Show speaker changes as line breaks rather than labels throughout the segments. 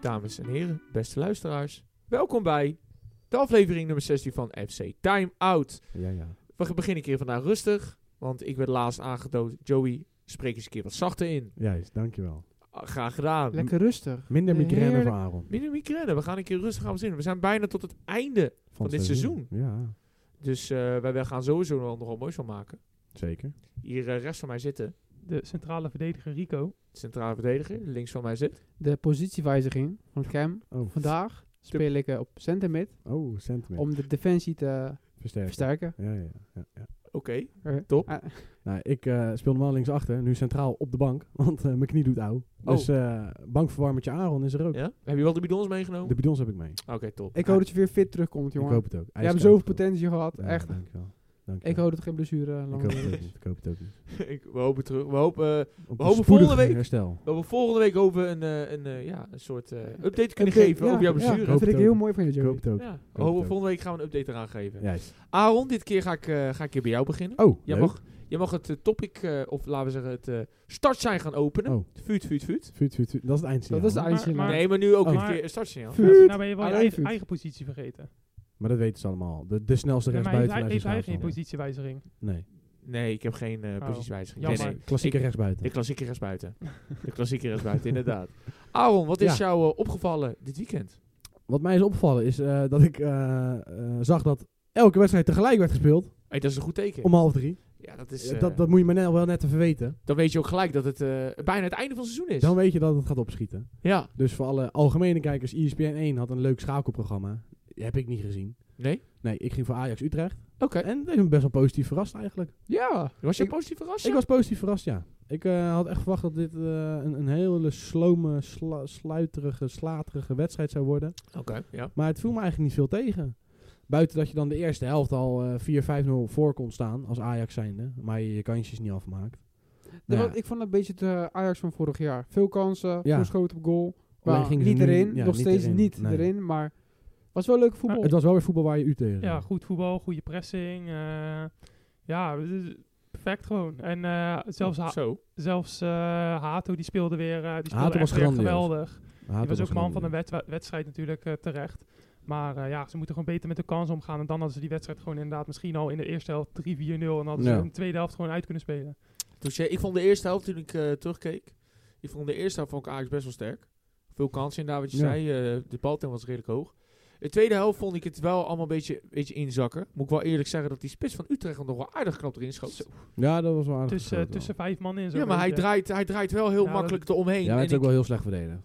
dames en heren, beste luisteraars. Welkom bij de aflevering nummer 16 van FC Time Out.
Ja, ja.
We beginnen een keer vandaag rustig, want ik werd laatst aangedood. Joey, spreek eens een keer wat zachter in.
Juist, dankjewel.
Ah, Graag gedaan.
Lekker rustig.
Minder migraine
Heerlijk.
voor Aaron.
Minder migraine, we gaan een keer rustig aan beginnen. We zijn bijna tot het einde.
het
dit
Ja,
Dus eh, wij wij gaan sowieso nog wel moois van maken.
zeker.
Hier eh, rechts van mij zitten,
De centrale verdediger Rico.
de centrale verdediger. Links van mij zit.
De positiewijziging van Cam.
Oh,
Vandaag speel ik eh, op centermid
oh sentiment.
om de defensie te
Versterken.
versterken.
Ja, ja, ja, ja.
Oké,
Eh,
Top.
eh,
Nou, ik eh, speel normaal linksachter, nu centraal op de bank, want eh, mijn knie doet auw. Dus eh bankverwarmertje Aaron is er ook.
ja? Heb je wel de bidons meegenomen?
De bidons heb ik mee.
Oké, top.
ik hoop dat je weer fit terugkomt, jongen.
Ik hoop het ook.
Jij hebt zoveel potentie gehad. echt.
Dankjewel. dankjewel.
Ik hoop dat er geen blessure eh,
Ik
lang
hoop het
meer
ook
is.
niet. Ik hoop het ook niet.
Ik- we hopen terug. We hopen... eh,
Op
We
een
hopen
spoedig
volgende week.
Herstel.
Dat we volgende week over een, eh, een, eh, ja, een soort eh, update kunnen
Update,
geven
ja,
over jouw
ja,
blessure.
hoop
dat vind ik
het
heel
ook.
mooi van je,
Ik hoop
Joey.
het ook.
Ja,
hoop
hopen-
het ook.
volgende week gaan we een update eraan geven.
Juist.
Aaron, dit keer ga ik, eh, ga ik hier bij jou beginnen.
Oh,
jij,
leuk.
mag, jij mag het eh, topic, eh, of laten we zeggen het eh start zijn gaan openen.
Oh.
Vuut, vuut, vuut.
Vuut, vuut, vuut. Dat is het eindsignaal.
Dat is het
Maar-
eindje.
maar-
nou.
Nee, maar nu ook
Oh.
een
Maar-
keer een startsignaal.
Vuut.
Nou ben je wel je
Alleen
eigen,
vuut.
eigen positie vergeten.
Maar dat weten ze allemaal. De, de snelste
Ja, maar
rechtsbuiten
heeft,
van
hij- heeft hij geen
Leicester
positiewijziging?
Haaland. Nee.
Nee, ik heb geen eh
Oh.
positiewijziging. Nee,
Jammer.
nee.
Klassieke
Ik-
rechtsbuiten.
De klassieker is buiten. De klassieker is buiten, inderdaad. Aaron, wat is
Ja.
jou eh, opgevallen dit weekend?
Wat mij is opgevallen is eh, dat ik eh, eh, zag dat elke wedstrijd tegelijk werd gespeeld.
Hey, dat is een goed teken.
Om half drie.
ja, dat is,
Eh,
eh,
dat, dat moet je maar net, wel net even weten.
dan weet je ook gelijk dat het eh, bijna het einde van het seizoen is.
Dan weet je dat het gaat opschieten.
ja.
Dus voor alle algemene kijkers, E ESPN 1 had een leuk schakelprogramma. Heb ik niet gezien.
Nee?
Nee, ik ging voor Ajax Utrecht.
Oké.
En dat heeft me best wel positief verrast eigenlijk.
Ja.
Was je
Ik-
positief verrast? ja?
Ik was positief verrast, ja. Ik eh, had echt verwacht dat dit eh, een, een hele slome, sla- sluiterige, slaterige wedstrijd zou worden.
Oké, ja.
Maar het viel me eigenlijk niet veel tegen. Buiten dat je dan de eerste helft al eh 4-5-0 voor kon staan als Ajax zijnde. Maar je je kansjes niet afmaakt. Nou ja,
Ik vond het een beetje de Ajax van vorig jaar. Veel kansen,
Ja.
veel schoten op goal.
alleen
Maar
gingen ze
niet
nu-
erin,
ja,
nog steeds niet
Nee.
erin, maar was wel leuk voetbal.
Het was wel weer voetbal waar je u tegen
Ja, goed voetbal, goede pressing. eh, ja, het is perfect gewoon. En eh, zelfs, Ha-
Oh, Zo.
zelfs eh, Hato die speelde weer, eh, die speelde
Hato
echt
was
weer
grandioos.
geweldig.
Haat
Die was
op
ook man
schande.
van de wedw- wedstrijd natuurlijk eh, terecht. Maar eh, ja, ze moeten gewoon beter met de kans omgaan. En dan hadden ze die wedstrijd gewoon inderdaad misschien al in de eerste helft 3-4-0. En dan hadden ze
Ja.
in de tweede helft gewoon uit kunnen spelen.
Touché. Dus, eh, Ik vond de eerste helft toen ik eh, terugkeek. Ik vond de eerste helft vond ik Ajax best wel sterk. Veel kansen inderdaad, wat je
Ja.
zei. eh, de baltemp was redelijk hoog. De tweede helft vond ik het wel allemaal een beetje, een beetje inzakken. Moet ik wel eerlijk zeggen dat die spits van Utrecht nog wel aardig knap erin schoot.
Ja, dat was wel aardig.
Tussen,
geschoten
tussen
wel.
vijf man in zo'n
Ja, maar hij
beetje.
draait, hij draait wel heel
Ja,
makkelijk eromheen.
Ja, maar het
en
is ook
ik,
wel heel slecht verdedigd.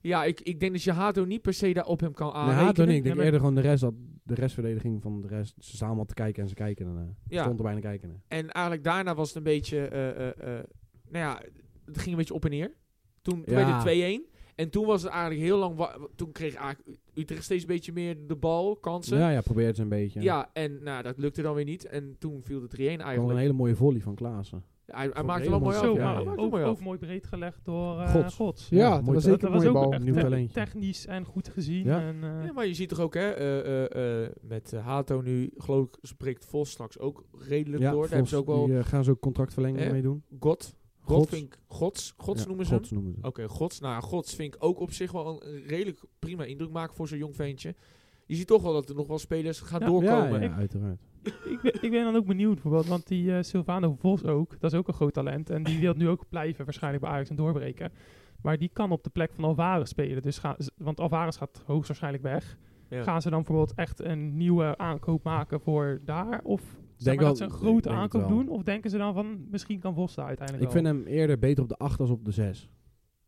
ja ik, ik denk dat je Hato niet per se daar op hem
Ah,
kan
Nee,
aanrekenen.
Haat ook niet. Ik
Ja,
denk
maar-
eerder gewoon de rest dat de restverdediging van de rest. Ze staan allemaal te kijken en ze kijken en
Ja.
stond er bijna kijken. hè.
En eigenlijk daarna was het een beetje, eh, eh, eh, nou ja, het ging een beetje op en neer. Toen
Ja.
werd het 2-1. En toen was het eigenlijk heel lang, wa- toen kreeg eigenlijk Utrecht steeds een beetje meer de bal, kansen. Ja,
Ja, ja, probeert ze een beetje.
en nou, dat lukte dan weer niet. En toen viel de 3-1
Er kwam een
eigenlijk.
hele mooie volley van Klaassen.
Hij, hij
Van
maakte wel mooi af.
Raymond
Zo,
Ja,
ja,
maar
hij
ja.
maakte
ook,
mooi
ook
af.
mooi breed gelegd door eh
Gods.
Gods.
Ja,
mooi
dat was
te-
zeker
dat
een
was
mooie
ook
bal.
echt
Nieuw
te-
talentje.
technisch en goed gezien.
Ja.
En, eh,
Ja, maar je ziet toch ook, hè, eh, eh, eh, met eh, Hato nu, geloof ik, spreekt Vos straks ook redelijk door. Daar hebben ze ook
Vos,
wel
die, eh, gaan ze ook contractverlenging
Hè?
mee doen.
God. God
Gods.
vind ik, Gods, Gods
Ja,
noemen ze hem.
Gods noemen ze.
Oké, Gods. Nou, ja, Gods vind ik ook op zich wel een redelijk prima indruk maken voor zo'n jong ventje. Je ziet toch wel dat er nog wel spelers gaan
Ja.
doorkomen.
Ja, ja, uiteraard.
ik, ben, ik ben dan ook benieuwd bijvoorbeeld, want die eh, Silvano Vos ook, dat is ook een groot talent. En die wil nu ook blijven waarschijnlijk bij Ajax en doorbreken. Maar die kan op de plek van Alvarez spelen. Dus ga, z- want Alvarez gaat hoogstwaarschijnlijk weg.
Ja.
Gaan ze dan bijvoorbeeld echt een nieuwe aankoop maken voor daar? Of zeg
Denk
maar
wel-
dat ze een
ik
grote
denk het
aankoop
wel.
doen? Of denken ze dan van, misschien kan Vos daar uiteindelijk
Ik
wel?
vind hem eerder beter op de 8 als op de 6.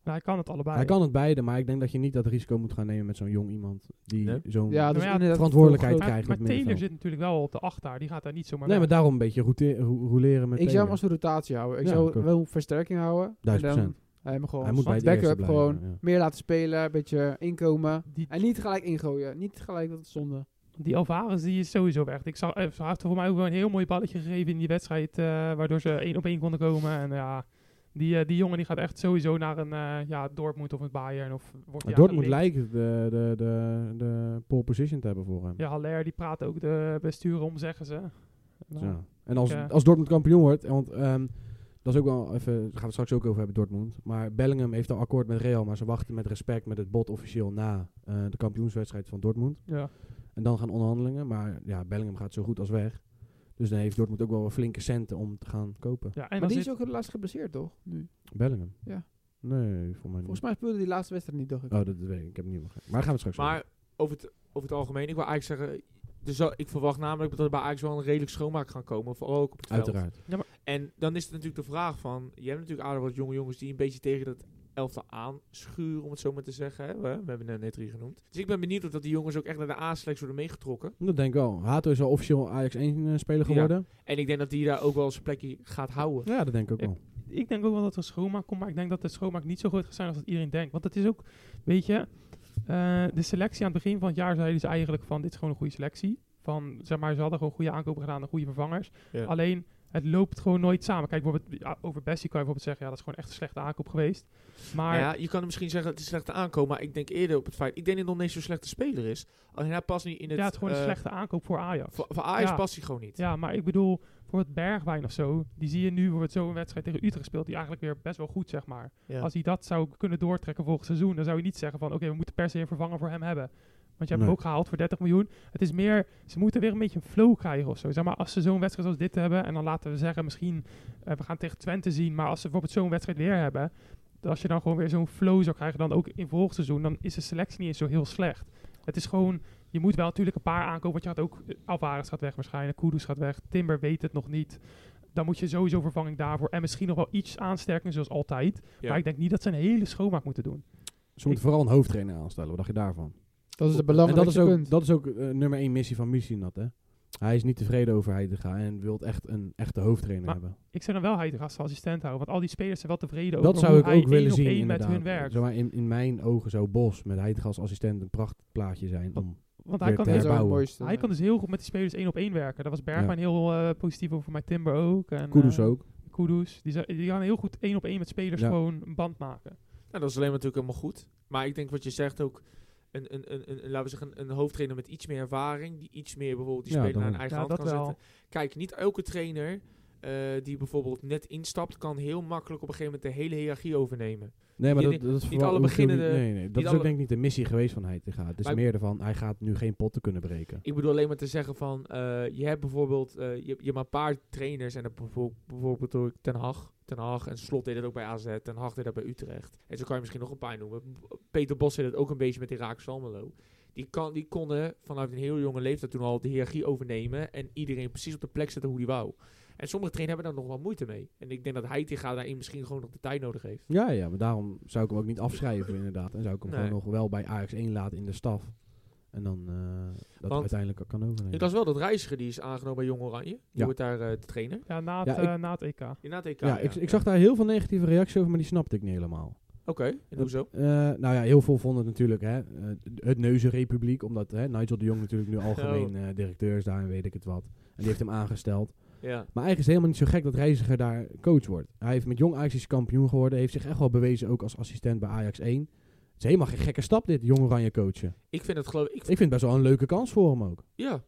Nou, hij kan het allebei.
Hij kan het beide, maar ik denk dat je niet dat risico moet gaan nemen met zo'n jong iemand die
Nee.
zo'n
Ja, dus
ja,
inderdaad
verantwoordelijkheid
veel
Maar,
krijgt.
maar
op het
Taylor
middenveld.
zit natuurlijk wel op de acht daar. Die gaat daar niet zomaar
Nee,
weg.
maar daarom een beetje rote- ro- roleren met
groot. Ik zou
Taylor.
hem als een rotatie houden. Ik
Ja, ik
zou
ook.
wel versterking houden.
Duizend
En dan
procent.
hem gewoon
Hij moet
als
bij het
backup
eerste blijven,
gewoon
ja.
meer laten spelen, een beetje inkomen.
Die,
En niet gelijk ingooien. Niet gelijk dat is zonde.
die Alvarez die is sowieso weg. Ik zag, eh, ze had voor mij ook wel een heel mooi balletje gegeven in die wedstrijd. eh, waardoor ze één op één konden komen. En ja, die, eh, die jongen die gaat echt sowieso naar een eh ja, Dortmund of een Bayern. Of wordt die
Dortmund
aangelinkt.
lijkt de, de, de, de pole position te hebben voor hem.
Ja, Haller die praat ook de besturen om, zeggen ze. Nou,
Ja. En als,
Ja.
als Dortmund kampioen wordt, want ehm, Dat is ook wel even, daar gaan we het straks ook over hebben, Dortmund. Maar Bellingham heeft al akkoord met Real, maar ze wachten met respect met het bod officieel na eh, de kampioenswedstrijd van Dortmund.
Ja.
En dan gaan onderhandelingen, maar ja, Bellingham gaat zo goed als weg. Dus dan heeft Dortmund ook wel een flinke centen om te gaan kopen.
ja en
Maar
dan
die
zit,
is ook laatst geblesseerd, toch? Nu.
Mm. Bellingham?
Ja.
Nee, voor mij
Volgens
niet.
mij speelde die laatste wedstrijd niet, dacht ik.
Oh, dat, dat weet ik. Ik heb het niet begrepen. Maar daar gaan we het straks
Maar over het, over het algemeen, ik wil eigenlijk zeggen... Dus wel- ik verwacht namelijk dat er bij Ajax wel een redelijk schoonmaak gaan komen. Vooral ook op het
over
veld.
hebben. Uiteraard.
En dan is het natuurlijk de vraag van... Je hebt natuurlijk aardig wat jonge jongens die een beetje tegen dat elftal aanschuren, om het zo maar te zeggen. Hè? We, we hebben er net drie genoemd. Dus ik ben benieuwd of dat die jongens ook echt naar de A-selectie worden meegetrokken.
Dat denk ik wel. Hato is al officieel Ajax 1-speler
Ja.
geworden.
En ik denk dat die daar ook wel zijn plekje gaat houden.
Ja. dat denk ik ook
Ik-
wel.
ik denk ook wel dat er schoonmaak komt, maar ik denk dat de schoonmaak niet zo groot gaat zijn als dat iedereen denkt. Want het is ook, weet je, eh, de selectie aan het begin van het jaar zeiden ze eigenlijk van dit is gewoon een goede selectie. Van, zeg maar, ze hadden gewoon goede aankopen gedaan en goede vervangers.
Ja.
Alleen, het loopt gewoon nooit samen. Kijk, bijvoorbeeld, ja, over Bessie kan je bijvoorbeeld zeggen, ja, dat is gewoon echt een slechte aankoop geweest. Maar
Nou ja, je kan misschien zeggen dat het een slechte aankoop, maar ik denk eerder op het feit... Ik denk dat hij nog niet zo'n slechte speler is. Alleen hij past niet in het...
ja, het is gewoon een
eh,
slechte aankoop voor Ajax.
Voor, voor Ajax
Ja.
past hij gewoon niet.
Ja, maar ik bedoel, voor het Bergwijn of zo, die zie je nu wordt zo'n wedstrijd tegen Utrecht speelt, die eigenlijk weer best wel goed, zeg maar.
Ja.
Als hij dat zou kunnen doortrekken volgend seizoen, dan zou je niet zeggen van oké, we moeten per se een vervanger voor hem hebben. Want je hebt
Nee.
hem ook gehaald voor 30 miljoen. Het is meer, ze moeten weer een beetje een flow krijgen of zo. Zeg maar, als ze zo'n wedstrijd als dit hebben, en dan laten we zeggen, misschien eh, we gaan tegen Twente zien, maar als ze bijvoorbeeld zo'n wedstrijd weer hebben, dan als je dan gewoon weer zo'n flow zou krijgen, dan ook in volgend seizoen, dan is de selectie niet eens zo heel slecht. Het is gewoon, je moet wel natuurlijk een paar aankopen, want je gaat ook, eh, Alvarez gaat weg waarschijnlijk, Kudus gaat weg, Timber weet het nog niet. Dan moet je sowieso vervanging daarvoor en misschien nog wel iets aansterking zoals altijd.
Ja.
Maar ik denk niet dat ze een hele schoonmaak moeten doen.
Ze moeten vooral een hoofdtrainer aanstellen. Wat dacht je daarvan?
Dat is het
En dat is
belangrijkste
ook,
punt.
dat is ook eh, nummer één missie van Missinat, hè? Hij is niet tevreden over Heidega en wil echt een echte hoofdtrainer
Maar
hebben.
Ik zou dan wel Heidegger als assistent houden, want al die spelers zijn wel tevreden
Dat
over
zou
hoe
ik
hij
ook willen
één op
zien
één met
inderdaad.
hun werk.
Zou maar in, in mijn ogen zou Bos met Heidega als assistent een prachtplaatje zijn.
Wat-
Om,
Want hij
Weer
Dat is
kan, dus,
wel het
herbouwen.
mooiste.
hij kan dus heel goed met die spelers één op één werken. Daar was Bergwijn heel eh, positief over, mij Timber ook. En,
Kudus
eh,
ook.
Kudus. Die, zou- die gaan heel goed één op één met spelers
Ja.
gewoon een band maken.
Nou, dat is alleen maar natuurlijk helemaal goed. Maar ik denk wat je zegt ook. Een, een, een, een, laten we zeggen, een, een hoofdtrainer met iets meer ervaring. Die iets meer bijvoorbeeld die
Ja,
speler naar
daarom.
een eigen
Ja,
hand
dat
kan
wel.
zetten. Kijk, niet elke trainer eh, die bijvoorbeeld net instapt, kan heel makkelijk op een gegeven moment de hele hiërarchie overnemen.
Nee, maar
je
dat,
denkt,
dat is
niet
vooral-
alle
hoeft ook niet-
beginnende-
Nee, nee, dat
niet
is ook
alle-
denk ik niet de missie geweest van Heidega. Het is
Maar ik-
meer ervan, hij gaat nu geen potten kunnen breken.
Ik bedoel alleen maar te zeggen van, eh, je hebt bijvoorbeeld, eh, je, je hebt maar een paar trainers. En dat bijvoorbeeld, bijvoorbeeld ook Ten Hag. Ten Hag en Slot deed dat ook bij AZ. Ten Hag deed dat bij Utrecht. En zo kan je misschien nog een paar noemen. B- Peter Bos deed dat ook een beetje met Irak Salmelo. Die, kan, die konden vanuit een heel jonge leeftijd toen al de hiërarchie overnemen. En iedereen precies op de plek zetten hoe die wou. En sommige trainers hebben daar nog wel moeite mee. En ik denk dat hij tegen daarin misschien gewoon nog de tijd nodig heeft.
Ja, ja, maar daarom zou ik hem ook niet afschrijven inderdaad. En zou ik hem
Nee.
gewoon nog wel bij Ajax 1 laten in de staf. En dan eh, dat
Want-
uiteindelijk kan overnemen.
Ik las wel dat Reiziger die is aangenomen bij Jong Oranje. Die
Ja.
wordt daar eh, de trainer.
Ja, na het,
Ja,
eh, na het EK.
In het EK,
ja, Ik, ik zag daar heel veel negatieve reacties over, maar die snapte ik niet helemaal.
Oké, en hoezo?
Eh, nou ja, heel veel vonden het natuurlijk hè, eh, het Neuzenrepubliek, omdat hè, Nigel de Jong natuurlijk nu algemeen
Oh.
eh, directeur is daar en weet ik het wat. En die heeft hem aangesteld.
Ja.
Maar eigenlijk is het helemaal niet zo gek dat Reiziger daar coach wordt. Hij heeft met Jong Ajax is kampioen geworden, heeft zich echt wel bewezen ook als assistent bij Ajax 1. Het is helemaal geen gekke stap dit, Jong Oranje coachen.
Ik vind het geloof ik.
Ik vind het best wel een leuke kans voor hem ook.
Ja.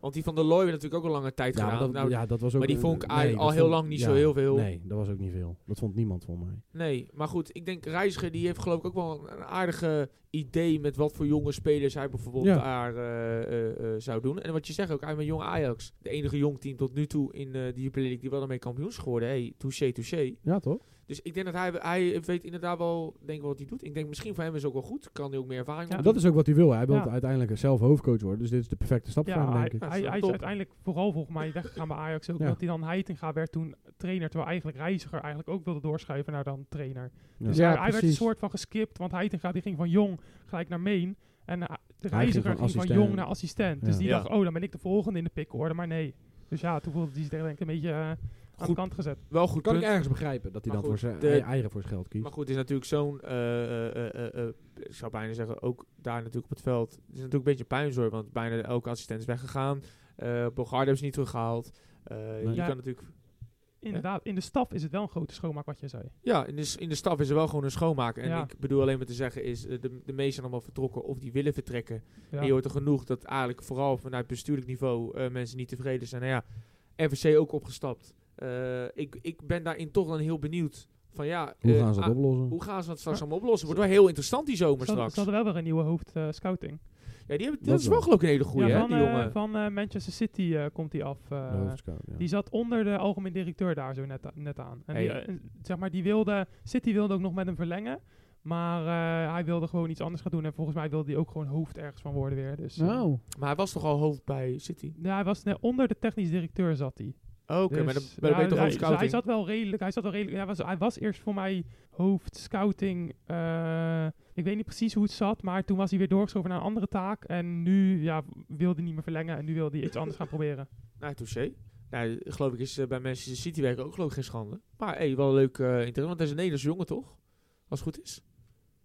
Want die van der Looy werd natuurlijk ook al lange tijd
Ja, maar
gedaan.
dat,
Nou,
ja, dat was ook
maar die
een-
vond ik
nee,
eigenlijk
dat
al heel
vond-
lang niet zo
ja,
heel veel.
Nee, dat was ook niet veel. Dat vond niemand voor mij.
Nee, maar goed, ik denk Reiziger die heeft geloof ik ook wel een, een aardige idee met wat voor jonge spelers hij bijvoorbeeld
Ja.
daar eh, eh, eh, zou doen. En wat je zegt ook, hij met jong Ajax, de enige jong team tot nu toe in eh de Jupiler League die wel ermee kampioen is geworden. Hey, touché, touché.
Ja, toch?
Dus ik denk dat hij, hij weet inderdaad wel denk ik, wat hij doet. Ik denk misschien voor hem is het ook wel goed. Kan hij ook meer ervaring
Ja,
opdoen.
Dat is ook wat hij wil. Hij wil
Ja.
uiteindelijk zelf hoofdcoach worden. Dus dit is de perfecte stap voor
Ja,
hem,
hij,
denk ik.
Ja,
hij,
dat is
hij is
top.
uiteindelijk vooral volgens mij weggegaan bij Ajax ook.
Ja.
Dat hij dan Heitinga werd toen trainer, terwijl eigenlijk Reiziger eigenlijk ook wilde doorschuiven naar dan trainer. Dus
Ja,
hij, hij werd een
precies.
soort van geskipt, want Heitinga die ging van jong gelijk naar main. En eh, de
van
reiziger ging van
assistent.
jong naar assistent. Dus
Ja.
die
Ja.
dacht, oh, dan ben ik de volgende in de pickorde, maar nee. Dus ja, toen voelde hij zich denk ik een beetje eh, aan de
Goed.
kant gezet.
wel goed
Kan
punt.
ik ergens begrijpen dat hij
Maar
dan voor
goed,
zijn
de-
ei- eigen voor zijn geld kiest.
Maar goed, het is natuurlijk zo'n, eh, eh, eh, eh, eh, ik zou bijna zeggen, ook daar natuurlijk op het veld. Het is natuurlijk een beetje puinzooi, want bijna elke assistent is weggegaan. Eh Bogarde hebben ze niet teruggehaald. Eh, Je
Ja.
kan natuurlijk,
Inderdaad, in de staf is het wel een grote schoonmaak wat je zei.
ja, in de, s- in de staf is er wel gewoon een schoonmaker. En
Ja.
ik bedoel alleen maar te zeggen is, eh, de, de meesten zijn allemaal vertrokken of die willen vertrekken.
Ja.
En je hoort er genoeg dat eigenlijk vooral vanuit bestuurlijk niveau eh, mensen niet tevreden zijn. Nou ja, RVC ook opgestapt. Eh, ik, ik ben daarin toch dan heel benieuwd van ja,
Hoe
eh,
gaan ze
ah,
dat oplossen?
hoe gaan ze dat straks allemaal oplossen? Wordt wel heel interessant die zomer
Ze hadden-
straks.
ze hadden wel weer een nieuwe hoofd eh, scouting.
Ja, die hebben,
Dat
dat is wel
wel.
geloof ik een hele goede,
ja,
hè,
van,
die
eh,
jongen.
van eh, Manchester City eh, komt die af. eh,
De hoofdscout, ja.
Die zat onder de algemeen directeur daar zo net, a- net aan. En die,
Hey.
eh, zeg maar, die wilde, City wilde ook nog met hem verlengen. Maar eh, hij wilde gewoon iets anders gaan doen. En volgens mij wilde hij ook gewoon hoofd ergens van worden weer. Dus, eh,
Nou,
Maar hij was toch al hoofd bij City?
ja, hij was net onder de technisch directeur zat hij.
Oké, maar dan,
Dus,
dan ben
ja,
je toch
hij,
hoofd scouting?
Hij zat wel redelijk. Hij, zat wel redelijk hij, was, hij was eerst voor mij hoofd scouting. eh, ik weet niet precies hoe het zat, maar toen was hij weer doorgeschoven naar een andere taak. En nu ja, wilde hij niet meer verlengen en nu wilde hij iets anders gaan proberen.
Nou, touché. Nou, geloof ik is eh, bij Manchester City werken ook geloof ik geen schande. Maar hey, wel een leuk eh interesse, want hij is een Nederlands jongen toch? Als het goed is.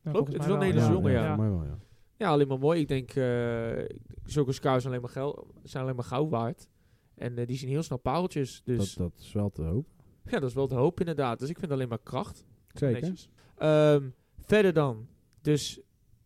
Ja,
Klopt,
volgens
het is
mij
wel een
Ja,
Nederlands jongen, ja.
volgens mij wel, ja.
Ja, alleen maar mooi. Ik denk, eh zulke scouts zijn alleen maar, geld, zijn alleen maar goud waard. En eh, die zien heel snel pareltjes. Dus
Dat, dat is wel te hoop.
ja, dat is wel de hoop inderdaad. Dus ik vind alleen maar kracht.
Zeker.
Netjes. Ehm, verder dan, dus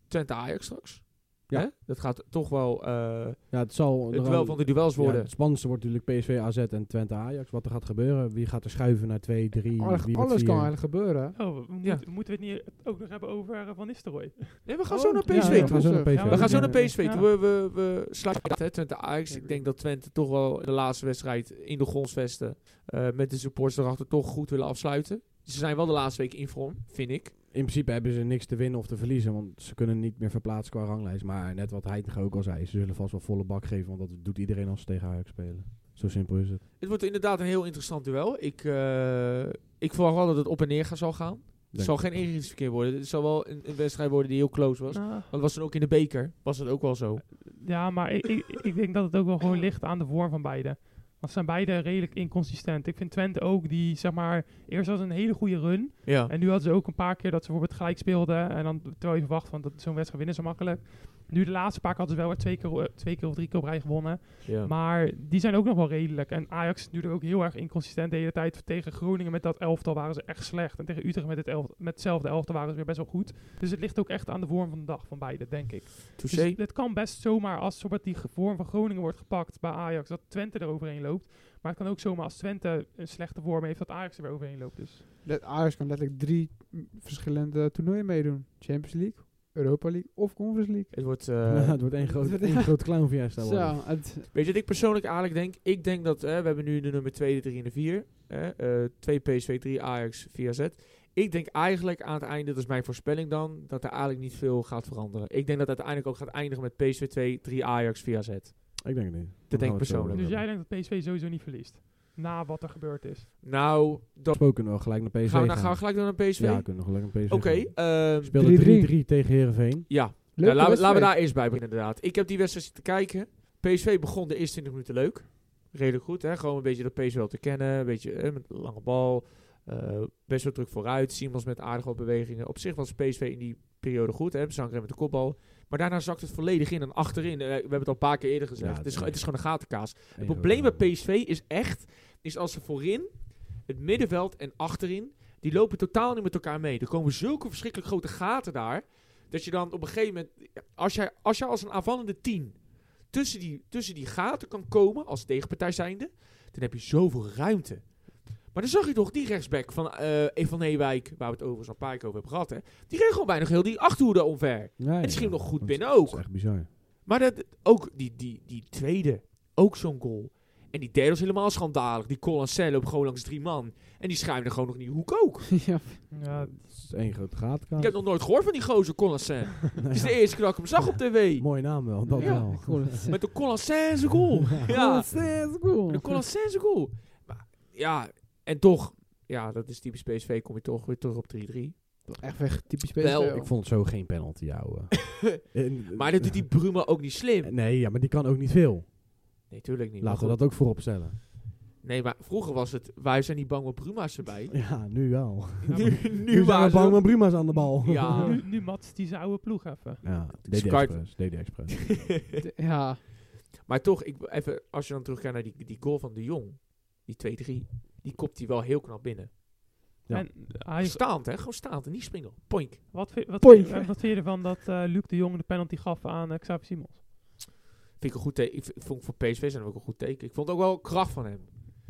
Twente Ajax straks.
Ja.
Hè? Dat gaat toch wel eh
Ja, het zal
het
er
wel
al-
van de duels
ja,
worden.
het spannendste wordt natuurlijk PSV, AZ en Twente, Ajax. Wat er gaat gebeuren. Wie gaat er schuiven naar 2, 3,
alles,
wie wordt
alles kan
vier.
eigenlijk gebeuren.
Oh, we
Ja.
moeten- moeten we het niet ook nog hebben over eh, Van Nistelrooy?
Nee, we gaan
Oh,
zo naar
ja,
PSV
ja.
toe.
we gaan zo naar
We
PSV.
We gaan zo
Ja,
naar
ja,
PSV
ja.
toe. We, we, we sluiten het, hè, Twente Ajax. Ik denk dat Twente toch wel de laatste wedstrijd in de grondsvesten eh, met de supporters erachter toch goed willen afsluiten. Ze zijn wel de laatste week in vorm, vind ik.
In principe hebben ze niks te winnen of te verliezen. Want ze kunnen niet meer verplaatsen qua ranglijst. Maar net wat Heitinga ook al zei. Ze zullen vast wel volle bak geven. Want dat doet iedereen als ze tegen Ajax spelen. Zo simpel is het.
Het wordt inderdaad een heel interessant duel. Ik, eh, ik verwacht wel dat het op en neer gaan zal gaan. het
Denk
zal
ik.
geen eenrichtingsverkeer worden. Het zal wel een, een wedstrijd worden die heel close was. Want
Nou,
het was dan ook in de beker. Was het ook wel zo.
Ja, maar ik, ik, ik denk dat het ook wel gewoon ligt aan de vorm van beide. Want ze zijn beide redelijk inconsistent. Ik vind Twente ook, die zeg maar, eerst was een hele goede run.
Ja.
En nu hadden ze ook een paar keer dat ze bijvoorbeeld gelijk speelden. En dan terwijl je verwacht van dat zo'n wedstrijd winnen zo makkelijk. Nu de laatste paar keer hadden ze wel weer twee keer, eh, twee keer of drie keer op rij gewonnen.
ja.
Maar die zijn ook nog wel redelijk. En Ajax is natuurlijk ook heel erg inconsistent de hele tijd. Tegen Groningen met dat elftal waren ze echt slecht. En tegen Utrecht met, het elftal, met hetzelfde elftal waren ze weer best wel goed. Dus het ligt ook echt aan de vorm van de dag van beide, denk ik. Dus
Touché.
het kan best zomaar als bijvoorbeeld die ge- vorm van Groningen wordt gepakt bij Ajax, dat Twente er overheen loopt. Maar het kan ook zomaar als Twente een slechte vorm heeft, dat Ajax er weer overheen loopt. Dus.
Let- Ajax kan letterlijk drie mm, verschillende toernooien meedoen. Champions League, Europa League of Conference League.
Het wordt...
Ja,
eh,
het wordt één groot, één groot clownfiesta worden.
Zo, het,
Weet je wat ik persoonlijk eigenlijk denk? Ik denk dat, hè, we hebben nu de nummer 2, de 3 en de 4. Hè, eh 2 PSV, 3 Ajax, 4 AZ. Ik denk eigenlijk aan het einde, dat is mijn voorspelling dan, dat er eigenlijk niet veel gaat veranderen. Ik denk dat het uiteindelijk ook gaat eindigen met PSV 2, 3 Ajax, 4 AZ.
Ik denk het niet.
Dat denk ik
gaan we het zo
persoonlijk.
over
dus jij
hebben.
denkt dat PSV sowieso niet verliest. Na wat er gebeurd is.
Nou, dan
Gesproken wel gelijk naar PSV
gaan we,
gaan.
nou, gaan we gelijk door naar PSV.
Ja, kunnen we gelijk naar PSV
Oké,
gaan.
ehm,
Speelde 3-3
3-3.
tegen Heerenveen.
ja.
leuke
Nou, laten we- laten we
wedstrijd.
daar eerst bij beginnen inderdaad. Ik heb die wedstrijd zitten kijken. PSV begon de eerste 20 minuten leuk. Redelijk goed, hè? Gewoon een beetje dat PSV wel te kennen. Een beetje eh, met een lange bal. Eh, best wel druk vooruit. Simons met aardige wat bewegingen. Op zich was PSV in die periode goed, hè? Sangré met de kopbal. Maar daarna zakt het volledig in en achterin. eh, we hebben het al een paar keer eerder gezegd.
Ja,
het, is,
het-
gewoon- het is gewoon een gatenkaas.
Eén
Het probleem
grote
met PSV is echt, is als ze voorin, het middenveld en achterin, die lopen totaal niet met elkaar mee. Er komen zulke verschrikkelijk grote gaten daar, dat je dan op een gegeven moment, als jij als, jij als een aanvallende tien tussen die, tussen die gaten kan komen, als tegenpartij zijnde, dan heb je zoveel ruimte. Maar dan zag je toch die rechtsback van eh Evan Heewijk, waar we het overigens al een paar keer over hebben gehad, hè, die reed gewoon bijna heel die achterhoede omver.
Ja, ja,
en schiet
ja.
nog goed
Dat-
binnen
Dat
ook.
is echt bizar.
Maar dat, ook die, die, die tweede, ook zo'n goal. En die derde was helemaal schandalig. Die Colancel loopt gewoon langs drie man. En die schuimde gewoon nog niet hoek ook.
ja,
Ja,
Het is één grote gatenkaas.
Ik heb nog nooit gehoord van die gozer Colancel. Het is de eerste keer dat ik hem zag op tv.
Mooie naam wel, dat
Ja,
wel.
cool.
Met de Colancel goal. Ja,
cool.
de Colancel goal. Maar, ja, en toch, ja, dat is typisch PSV. Kom je toch weer terug op 3-3.
Echt weg, typisch PSV.
Wel,
Ik vond het zo geen penalty, jouw.
Maar dat doet die Bruma ook niet slim.
eh, Nee, ja, maar die kan ook niet veel.
Nee, tuurlijk niet.
Laten we
Maar
dat ook voorop stellen.
goed. Nee, maar vroeger was het, wij zijn niet bang voor Bruma's erbij.
Ja, nu wel.
nu, nu,
Nu zijn
waren
we
ze
bang
ook-
met Bruma's aan de bal.
Ja.
Nu, nu matst die zijn oude ploeg even.
ja DD
Skype.
Express. DD Express.
Ja,
Maar toch, ik, even, als je dan terugkijkt naar die, die goal van de Jong, die 2-3, die kopt hij wel heel knap binnen.
Ja.
En hij,
Staand, hè? Gewoon staand en niet springen. Poink.
wat, vind, wat,
Pointje.
eh, wat vind je ervan dat eh, Luc de Jong de penalty gaf aan eh, Xavi Simons?
Vind ik een goed teken. Ik v- vond voor PSV zijn ook een goed teken. Ik vond ook wel kracht van hem.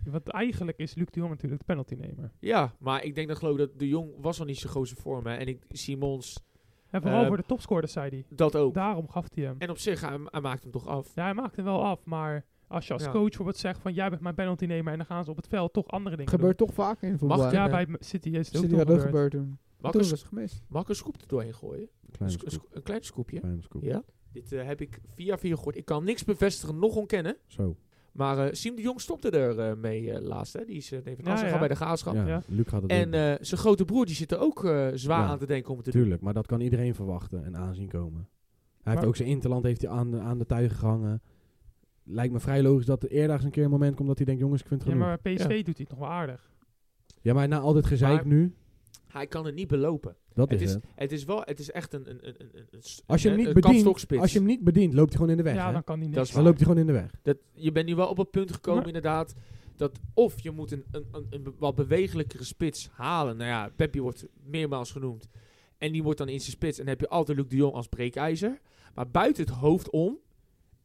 Want eigenlijk is Luc de Jong natuurlijk de penaltynemer.
Ja, maar ik denk dat geloof ik dat de Jong was al niet zijn grootste vorm. Hè. En ik, Simons,
En vooral
Eh,
voor de topscorers, zei hij.
dat ook.
Daarom gaf hij hem.
En op zich, hij, hij maakt hem toch af.
Ja, hij maakt hem wel af, maar als je als
Ja.
coach bijvoorbeeld zegt van jij bent mijn penaltynemer en dan gaan ze op het veld toch andere dingen
Gebeurt toch vaak in voetbal.
Mag-
doen. Ja,
en,
bij M- City is het ook
City
toch
had ook
gebeurd.
gebeurd toen.
Mag ik
Toen
een,
was het gemist.
mag ik een scoop er doorheen gooien? Een,
Kleine
sco- een
scoop.
sco- een klein scoopje.
Kleine scoop.
Ja. Dit eh, heb ik via via gehoord. Ik kan niks bevestigen, nog ontkennen.
Zo.
Maar eh Siem de Jong stopte er eh, mee eh, laatst. Hè. Die is eh even
Ja, ja.
bij de graafschap.
Ja,
Ja.
Luc gaat het
En
doen.
eh, zijn grote broer die zit er ook eh, zwaar
Ja.
aan te denken om het te doen.
Tuurlijk, maar dat kan iedereen verwachten en aanzien komen. Hij heeft
Maar-
ook zijn interland heeft hij aan, de- aan de tuigen gehangen. Lijkt me vrij logisch dat er eerdaags een keer een moment komt dat hij denkt, jongens, ik vind het
Ja,
genoeg.
maar bij PSV doet hij het nog wel aardig.
na al dit nou gezeik
Maar-
nu,
Hij kan het niet belopen.
dat
het,
is,
is, eh,
het.
het is wel, het is echt een, een, een, een, een s-
Als je hem
een-
niet
een
bedient,
kapstokspits.
als je hem niet bedient, loopt hij gewoon in de weg.
ja,
hè?
dan kan hij
Dat
niks.
is
Dan loopt hij gewoon in de weg.
Dat, je bent nu wel op het punt gekomen,
Maar-
inderdaad. Dat of je moet een, een, een, een be- wat bewegelijkere spits halen. Nou ja, Peppi wordt meermaals genoemd. En die wordt dan in zijn spits. En dan heb je altijd Luc de Jong als breekijzer. Maar buiten het hoofd om,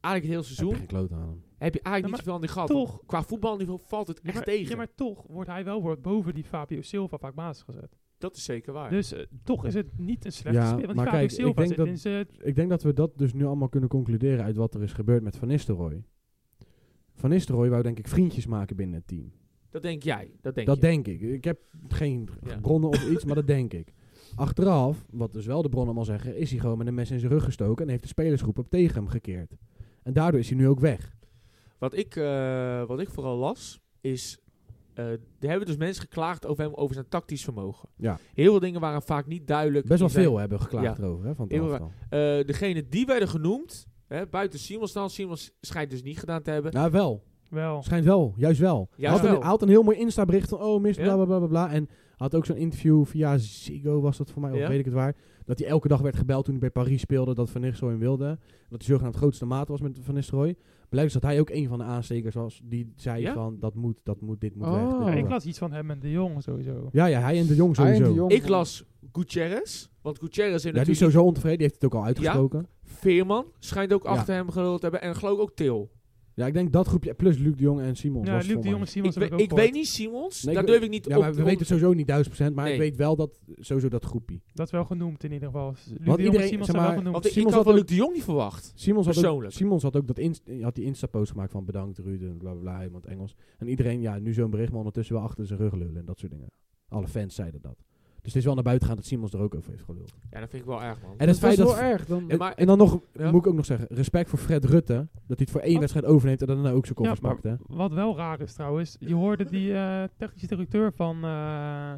eigenlijk het hele
Heb je
seizoen,
geen kloot aan hem.
heb je eigenlijk
Ja,
niet
maar
zoveel aan die gehad.
toch-
Want Qua voetbalniveau valt het
Ja,
echt
maar,
tegen.
ja, maar toch wordt hij wel wordt boven die Fabio Silva vaak basis gezet.
dat is zeker waar.
Dus eh, toch is het niet een slechte
Ja,
speler. Want
maar
Fabio
kijk, ik
Silva
denk
zit
dat-
in zijn...
Ik denk dat we dat dus nu allemaal kunnen concluderen uit wat er is gebeurd met Van Nistelrooy. Van Nistelrooy wou denk ik vriendjes maken binnen het team.
dat denk jij. Dat denk
dat
je.
denk ik. Ik heb geen
Ja.
bronnen of iets, maar dat denk ik. Achteraf, wat dus wel de bronnen allemaal zeggen, is hij gewoon met een mes in zijn rug gestoken en heeft de spelersgroep op tegen hem gekeerd. En daardoor is hij nu ook weg.
Wat ik, eh, wat ik vooral las, is... eh, er hebben dus mensen geklaagd over hem, over zijn tactisch vermogen.
Ja.
Heel veel dingen waren vaak niet duidelijk.
Best wel
in zijn-
veel hebben geklaagd
Ja.
erover, hè, van het
Heel
elftal.
Eh, degene die werden genoemd, hè, buiten Simons dan, Simons schijnt dus niet gedaan te hebben.
Nou, wel.
Wel,
Schijnt wel. Juist wel. Hij
Oh. Juist
had,
wel.
Een, hij had een heel mooi Insta-bericht van, oh, mist,
Ja.
bla, bla, bla, bla, bla. En had ook zo'n interview via Ziggo, was dat voor mij,
Ja.
of weet ik het waar. Dat hij elke dag werd gebeld toen hij bij Paris speelde, dat Van Nistelrooy hem wilde. Dat hij zogenaamd grootste maat was met Van Nistelrooy. Blijkt dus dat hij ook een van de aanstekers was die zei
Ja?
van, dat moet, dat moet, dit moet
Oh.
weg. dit moet
ja, ik
weg.
las iets van hem en de Jong sowieso.
Ja, ja, hij en de Jong
Hij en de
sowieso.
Jong.
Ik las Gutierrez, want Gutierrez heeft
Ja, die
natuurlijk...
is sowieso ontevreden. Die heeft het ook al uitgesproken. Ja,
Veerman schijnt ook
Ja.
achter hem geluld te hebben en geloof ik ook Til.
ik denk dat groepje. Plus Luc de Jong en Simon.
Ja, Luc de Jong en
Ik,
Simons
we-
heb
ik
ook
weet
gehoord.
niet Simons,
Nee, ik
daar
we-
durf ik niet
Ja,
op
maar we weten het sowieso niet 1000%. Maar
Nee.
ik weet wel dat sowieso dat groepje.
Dat is wel genoemd in ieder geval. Luc de Jong
iedereen-
en Simons
zeg
zijn wel
maar,
genoemd.
Want ik, ik
Simons
had
had
van
ook-
Luc de Jong niet verwacht.
Simons had ook,
Persoonlijk.
Simons had ook dat inst- had die Insta-post gemaakt van bedankt Ruud, bla bla bla, helemaal in het Engels. En iedereen, ja, nu zo'n bericht, maar ondertussen wel achter zijn rug lullen en dat soort dingen. Alle fans zeiden dat. Dus het is wel naar buiten gaan dat Simons er ook over heeft geluld.
Ja, dat vind ik wel erg, man.
En
Dat
het
is
feit dat...
wel erg. Dan,
Ja, maar-
en dan nog,
Ja.
moet ik ook nog zeggen, respect voor Fred Rutte. Dat hij het voor één
Oh.
wedstrijd overneemt en daarna ook zijn koffers
maar
pakt, hè.
Wat wel raar is trouwens, je hoorde die eh, technische directeur van eh,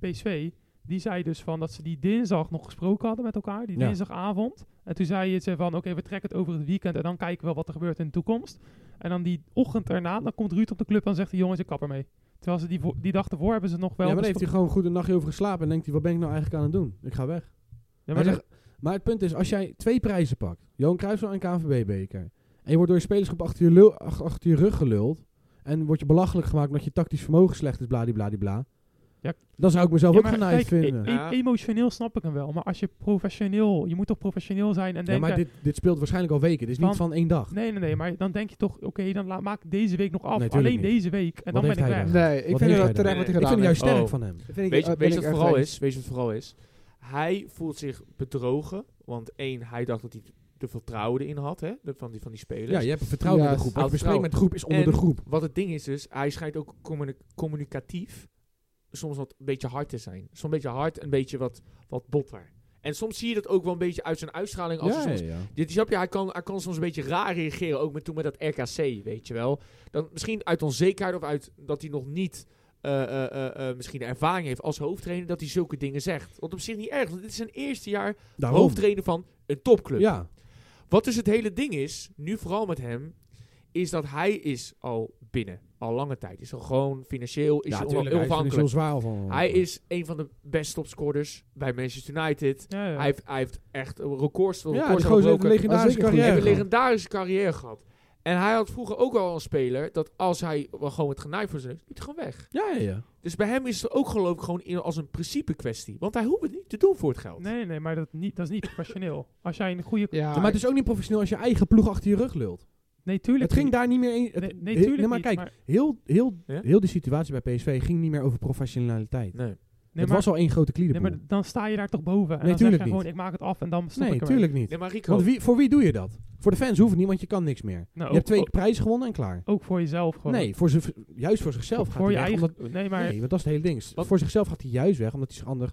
PSV, die zei dus van dat ze die dinsdag nog gesproken hadden met elkaar, die
Ja.
dinsdagavond. En toen zei je ze van, oké, we trekken het over het weekend en dan kijken we wel wat er gebeurt in de toekomst. En dan die ochtend erna, dan komt Ruud op de club en zegt hij, jongens, ik kap ermee. Terwijl ze die, vo- die dag ervoor hebben ze nog wel...
Ja, maar dan heeft hij
besproken.
gewoon goed een nachtje over geslapen en denkt hij, wat ben ik nou eigenlijk aan het doen? Ik ga weg.
Ja,
Hij
maar
zegt- maar het punt is, als jij twee prijzen pakt, Johan Cruijffsel en KNVB-beker, en je wordt door je spelersgroep achter je, lul- ach- achter je rug geluld, en wordt je belachelijk gemaakt omdat je tactisch vermogen slecht is, bladibladibla,
Ja.
dan zou ik mezelf
Ja,
ook
maar
genaaid
kijk,
vinden.
e- e- emotioneel snap ik hem wel, maar als je professioneel, je moet toch professioneel zijn en
Ja,
denken...
maar dit, dit speelt waarschijnlijk al weken, dit is niet
Van-
van één dag.
Nee, nee, nee, maar dan denk je toch, oké, dan la- maak ik deze week nog af.
Nee, tuurlijk
Alleen
niet.
deze week en
Wat
dan
heeft
ben ik
hij
weg.
dan?
nee, ik
Wat
vind
heeft
het wel
hij
terecht
dan?
wat hij
Ik vind
gedaan
het juist
heeft.
sterk
Oh.
van hem.
Dat vind ik-
Weet je,
eh,
weet je
ben
wat het
ik echt
vooral
eens.
is? Weet je wat het vooral is? Hij voelt zich bedrogen. Want één, hij dacht dat hij de vertrouwen erin had, hè? de- Van die, van die spelers.
Ja, je hebt vertrouwen in
Ja,
de groep.
hij
Wat
had
je bespreekt met de groep is onder
En-
de groep.
Wat het ding is dus, hij schijnt ook communi- communicatief soms wat een beetje hard te zijn. Soms een beetje hard, een beetje wat, wat botter. En soms zie je dat ook wel een beetje uit zijn uitstraling. Als hij soms, Dit snap je, hij kan, hij kan soms een beetje raar reageren, ook met, toen met dat RKC, weet je wel. Dan misschien uit onzekerheid of uit dat hij nog niet eh, eh, eh, eh, misschien de ervaring heeft als hoofdtrainer, dat hij zulke dingen zegt. Wat op zich niet erg, want dit is zijn eerste jaar
Daarom.
hoofdtrainer van een topclub.
Ja,
Wat dus het hele ding is, nu vooral met hem, is dat hij is al binnen. Al lange tijd. Is al gewoon financieel is
ja
hij onaf-
tuurlijk, hij is
onafhankelijk.
heel zwaar van.
Hij is een van de beste topscorers bij Manchester United.
Ja, ja.
Hij, heeft, hij heeft echt records,
Ja,
records
die gozer heeft een
afgebroken.
legendarische
Hij heeft een
Hij heeft een
carrière.
legendarische carrière gehad. En hij had vroeger ook al een speler dat als hij wel gewoon het genaaid voor zijn neus, liet hij gewoon weg.
Ja, ja, ja.
Dus bij hem is het ook geloof ik gewoon in- als een principe kwestie. Want hij hoeft het niet te doen voor het geld.
Nee, nee, maar dat, niet, dat is niet professioneel. Als jij een goede...
Ja,
Maar het is ook niet professioneel als je eigen ploeg achter je rug lult.
Nee, tuurlijk
Het ging
niet.
daar niet meer in. het-
Nee, nee,
heel-
tuurlijk
maar
niet,
kijk,
maar-
heel, heel,
Ja?
heel die situatie bij PSV ging niet meer over professionaliteit.
Nee.
Nee,
het
maar,
was al één grote
nee,
kliederboel.
maar dan sta je daar toch boven.
Nee,
En dan zeg je
tuurlijk
gewoon,
niet.
ik maak het af en dan stop
nee,
ik ermee.
tuurlijk niet.
Nee, maar Rico,
Want wie, voor wie doe je dat? Voor de fans hoeft het niet, want je kan niks meer.
Nou,
je hebt
ook-
twee prijzen gewonnen en klaar.
Ook voor jezelf gewoon.
Nee, voor zich- juist voor zichzelf gaat hij
voor je
weg.
eigen...
omdat-
Nee, maar...
nee, want dat is het hele ding. S-
Wat-
Voor zichzelf gaat hij juist weg, omdat hij zich ander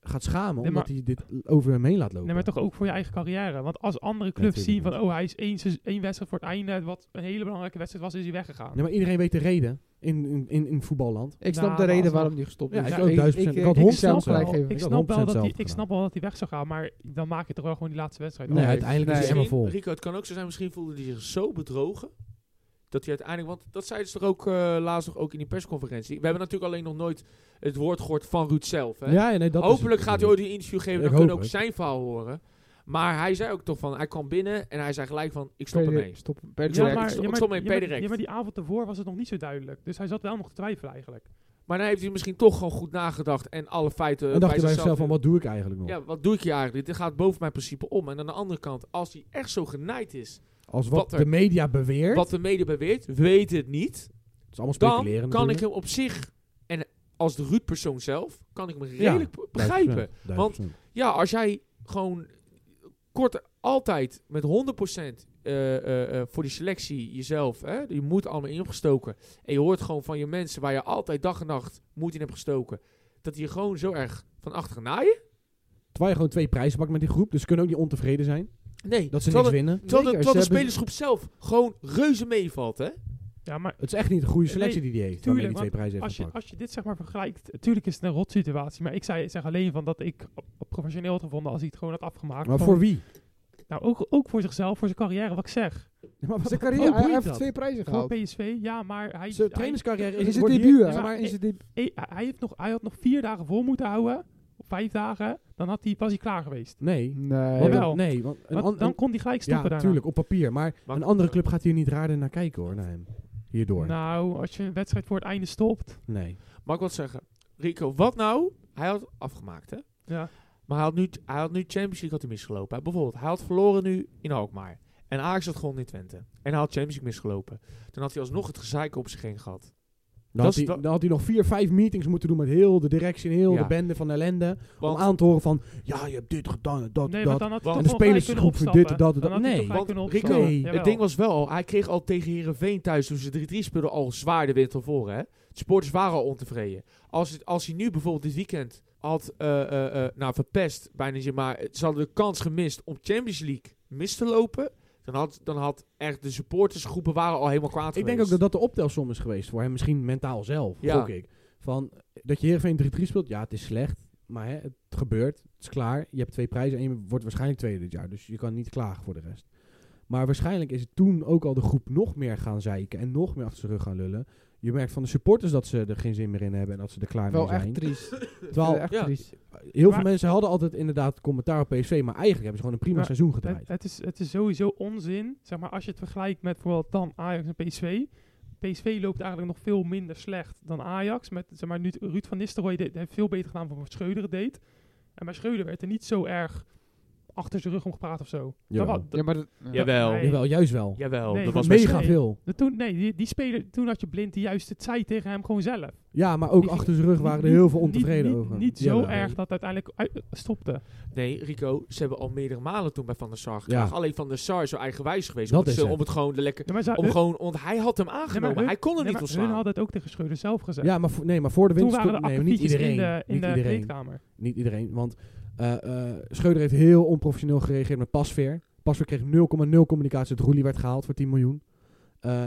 gaat schamen.
Nee,
omdat hij dit l- over hem heen laat lopen.
Nee, maar toch ook voor je eigen carrière. Want als andere clubs zien
tuurlijk
van, oh, hij is één, seizoen- één wedstrijd voor het einde, wat een hele belangrijke wedstrijd was, is hij weggegaan.
Nee, maar iedereen weet de reden in, in, in, in voetballand.
Ik
Nou,
snap de
maar
reden
alsnog.
waarom die gestopt
Ja,
is.
ik ook 1000%. Ik had
ik,
honderd
snap
procent
gelijk
wel,
geven.
ik,
Ik had
snap wel dat
100%
hij,
zelf
ik snap wel dat hij weg zou gaan, maar dan maak je toch wel gewoon die laatste wedstrijd.
Nee,
af.
uiteindelijk is hij
nee.
helemaal vol.
eh, Rico, het kan ook zo zijn, misschien voelde hij zich zo bedrogen. Dat hij uiteindelijk, want dat zeiden ze toch ook eh, laatst nog ook in die persconferentie. We hebben natuurlijk alleen nog nooit het woord gehoord van Ruud zelf. Hè?
Ja, nee, dat is
Hopelijk
het.
gaat hij ooit een interview geven,
Ik
dan kunnen we
hoop
ook
het.
zijn verhaal horen. Maar hij zei ook toch van, hij kwam binnen en hij zei gelijk van, ik stop ermee.
Per, stop, per
Ik
Ja,
stop-
maar,
ik
ja,
stop-
maar-
ik stop mee
ja,
per
maar-
direct.
ja, maar die avond ervoor was het nog niet zo duidelijk. Dus hij zat wel nog te twijfelen eigenlijk.
Maar dan heeft hij misschien toch gewoon goed nagedacht en alle feiten
En dacht hij bij zichzelf van, wat doe ik eigenlijk nog?
eh, Ja, wat doe ik hier eigenlijk? Dit gaat boven mijn principe om. En aan de andere kant, als hij echt zo genaaid is,
Als
wat
wat
er-
de media beweert,
wat de media beweert, weet het niet.
het is allemaal speculeren
dan kan ik hem op zich, en als de Ruud-persoon zelf, kan ik hem redelijk be- begrijpen. Want- Ja, als jij gewoon kort altijd met 100% eh, eh, eh, voor die selectie jezelf, hè, je moet allemaal in hebt gestoken. En je hoort gewoon van je mensen waar je altijd dag en nacht moed in hebt gestoken, dat die je gewoon zo erg van achter gaan naaien.
Terwijl je gewoon twee prijzen pakt met die groep, dus ze kunnen ook niet ontevreden zijn.
Nee,
Dat ze niks
terwijl de-
winnen.
terwijl de,
Zeker,
terwijl de
ze hebben-
spelersgroep zelf gewoon reuze meevalt, hè?
Ja, maar
Het is echt niet een goede selectie die hij heeft, waarmee
tuurlijk,
die twee
want
prijzen heeft
als je,
gepakt.
als je dit zeg maar vergelijkt, natuurlijk is het een rot situatie. Maar ik zei, zeg alleen van dat ik op- op professioneel had gevonden als hij het gewoon had afgemaakt.
Maar
Van-
voor wie?
nou, ook, ook voor zichzelf, voor zijn carrière, wat ik zeg.
Ja, Maar wat-
Zijn
hoe
carrière, hij
boeit
heeft
dat?
twee prijzen
Voor
gehaald.
PSV, ja, maar hij...
Zijn
hij-
trainerscarrière
In
is
zijn
wordt hier-
debuut,
Ja,
hè?
maar-
Maar in zijn debuut.
Hey, hij, heeft nog, hij had nog vier dagen vol moeten houden. Of vijf dagen. Dan had hij, was hij klaar geweest.
Nee.
Nee.
Want-
Jawel.
Nee, want een
Want
an-
dan
een-
kon hij gelijk stoppen
Ja,
daarna.
natuurlijk, op papier. Maar
Maar-
een andere club gaat hier niet raar naar kijken hoor, naar hem. Hierdoor.
Nou, als je een wedstrijd voor het einde stopt.
Nee.
Mag ik wat zeggen? Rico, wat nou? Hij had afgemaakt, hè?
Ja,
Maar hij had nu, hij had nu Champions League had hij misgelopen. Hij- Bijvoorbeeld, hij had verloren nu in Alkmaar. En Ajax had gewonnen in Twente. En hij had Champions League misgelopen. Dan had hij alsnog het gezeik op zich heen gehad. Dat
Dan had,
is
hij,
da-
dan had hij nog vier, vijf meetings moeten doen met heel de directie en heel
Ja.
de bende van ellende.
Want,
om aan te horen van, ja, je hebt dit gedaan en dat
nee,
en
want
dat.
dan had
Want-
hij
En
de
toch wel gelijk
spelersgroep
kunnen
voor dit en
opstappen.
dat en dat.
Dan had hij
Nee.
toch gelijk
want
kunnen
Rico,
opstappen.
Nee.
Jawel.
het ding was wel al... Hij kreeg al tegen Herenveen thuis toen ze 3-3 speelden al zwaar de wind van voren. Hè? De supporters waren al ontevreden. Als, het, als hij nu bijvoorbeeld dit weekend had eh, eh, eh, nou, verpest, bijna niet, maar eh, ze hadden de kans gemist om Champions League mis te lopen... Dan had, dan had echt de supportersgroepen waren al helemaal kwaad
Ik denk ook dat dat de optelsom is geweest voor hem. Misschien mentaal zelf,
Ja.
gok ik. Van, eh, dat je Heerenveen 3-3 speelt, ja, het is slecht. Maar hè, het gebeurt, het is klaar. Je hebt twee prijzen en je wordt waarschijnlijk tweede dit jaar. Dus je kan niet klagen voor de rest. Maar waarschijnlijk is het toen ook al de groep nog meer gaan zeiken. En nog meer achter zijn rug gaan lullen. Je merkt van de supporters dat ze er geen zin meer in hebben. En dat ze er klaar mee
Wel
zijn.
echt triest.
Terwijl
Wel echt
Ja.
triest.
heel
Maar-
veel mensen hadden altijd inderdaad commentaar op PSV. Maar eigenlijk hebben ze gewoon een prima
Maar
seizoen gedraaid.
Het, het, is, het is sowieso onzin. Zeg maar, als je het vergelijkt met bijvoorbeeld dan Ajax en PSV. PSV loopt eigenlijk nog veel minder slecht dan Ajax. Met, zeg maar, nu, Ruud van Nistelrooy deed, heeft veel beter gedaan dan wat Scheuder deed. En bij Scheuder werd er niet zo erg achter zijn rug om gepraat of zo.
Jawel.
Dat wa- dat-
Ja, maar... dat- ja.
Jawel,
Nee.
Jawel, juist wel.
jawel. dat
Nee, maar
was
mee-
best-
Mega
nee.
veel.
dat toen, nee, die, die speler, toen had je blind die juist het zei tegen hem gewoon zelf.
Ja, maar ook
Die-
achter zijn rug waren er
Niet-
heel veel
niet-
ontevreden
niet,
over.
Niet, zo
Jawel.
erg dat het uiteindelijk uit- stopte.
Nee, Rico, ze hebben al meerdere malen toen bij Van der Sar
Ja.
geklaagd. Alleen Van der Sar is zo eigenwijs geweest.
Dat
om, het,
is
zo-
het.
om het gewoon de lekker...
Ja, maar ze-
Om gewoon, want hij had hem
nee,
aangenomen.
maar hun-
hij kon er
nee,
niet
maar
ontslaan.
Hun hadden het ook tegen Scheuder zelf gezegd.
Ja, maar, voor, nee, maar voor de
toen
winst...
waren er
nee, maar niet
akkefietjes
iedereen.
in de, in
niet,
de
iedereen
kleedkamer.
niet iedereen. Want eh, eh, Schreuder heeft heel onprofessioneel gereageerd met Pasveer. Pasveer kreeg 0,0 communicatie. Het Roelie werd gehaald voor 10 miljoen. Eh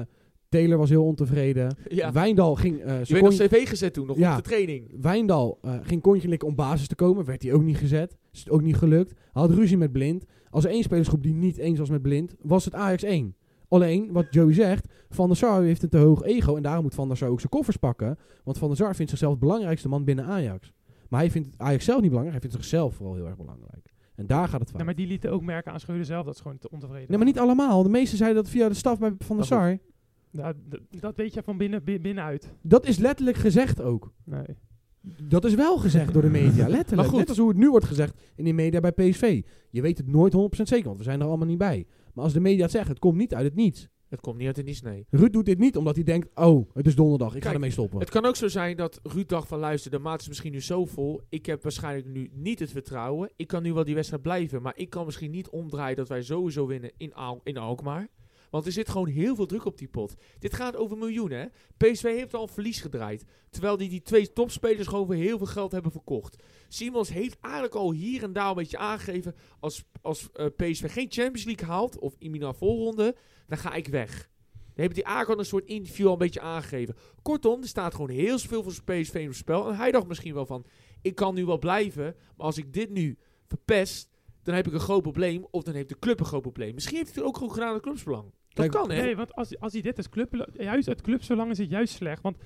Taylor was heel ontevreden.
ja.
Wijndal ging... eh, zijn
Je werd op
kon-
cv gezet toen, nog
Ja.
op de training.
Wijndal eh, ging kontje likken om basis te komen. Werd hij ook niet gezet. Is het ook niet gelukt. Had ruzie met Blind. Als er één spelersgroep die niet eens was met Blind, was het Ajax 1. Alleen, wat Joey zegt, Van der Sar heeft een te hoog ego. En daarom moet Van der Sar ook zijn koffers pakken. Want Van der Sar vindt zichzelf de belangrijkste man binnen Ajax. Maar hij vindt Ajax zelf niet belangrijk. Hij vindt zichzelf vooral heel erg belangrijk. En daar gaat het fout.
Nee, maar die lieten ook merken aan Scheuder zelf dat ze gewoon te ontevreden
Nee, maar niet allemaal. De meesten zeiden dat via de staf bij Van der
Maar
Sar.
waren. Ja, Nou, d- dat weet je van binnen, bi- binnenuit.
Dat is letterlijk gezegd ook.
Nee.
Dat is wel gezegd door de media, letterlijk.
Maar goed.
Net als hoe het nu wordt gezegd in de media bij PSV. Je weet het nooit 100% zeker, want we zijn er allemaal niet bij. Maar als de media het zegt, het komt niet uit het niets.
Het komt niet uit de niets, nee.
Ruud doet dit niet omdat hij denkt, oh, het is donderdag, ik ga
Kijk,
ermee stoppen.
Het kan ook zo zijn dat Ruud dacht van luister, de maat is misschien nu zo vol. Ik heb waarschijnlijk nu niet het vertrouwen. Ik kan nu wel die wedstrijd blijven. Maar ik kan misschien niet omdraaien dat wij sowieso winnen in, Al in Alkmaar. Want er zit gewoon heel veel druk op die pot. Dit gaat over miljoenen. hè. PSV heeft al een verlies gedraaid. Terwijl die, die twee topspelers gewoon voor heel veel geld hebben verkocht. Simons heeft eigenlijk al hier en daar een beetje aangegeven. Als, als eh, PSV geen Champions League haalt of Imina volronde, dan ga ik weg. Dan heeft hij eigenlijk al een soort interview al een beetje aangegeven. Kortom, er staat gewoon heel veel voor PSV in het spel. En hij dacht misschien wel van, ik kan nu wel blijven, maar als ik dit nu verpest, dan heb ik een groot probleem. Of dan heeft de club een groot probleem. Misschien heeft hij het ook gewoon gedaan aan clubsbelang. Dat
Kijk,
kan, hè?
Nee, want als, als hij dit als club... Juist het clubsbelang is het juist slecht. Want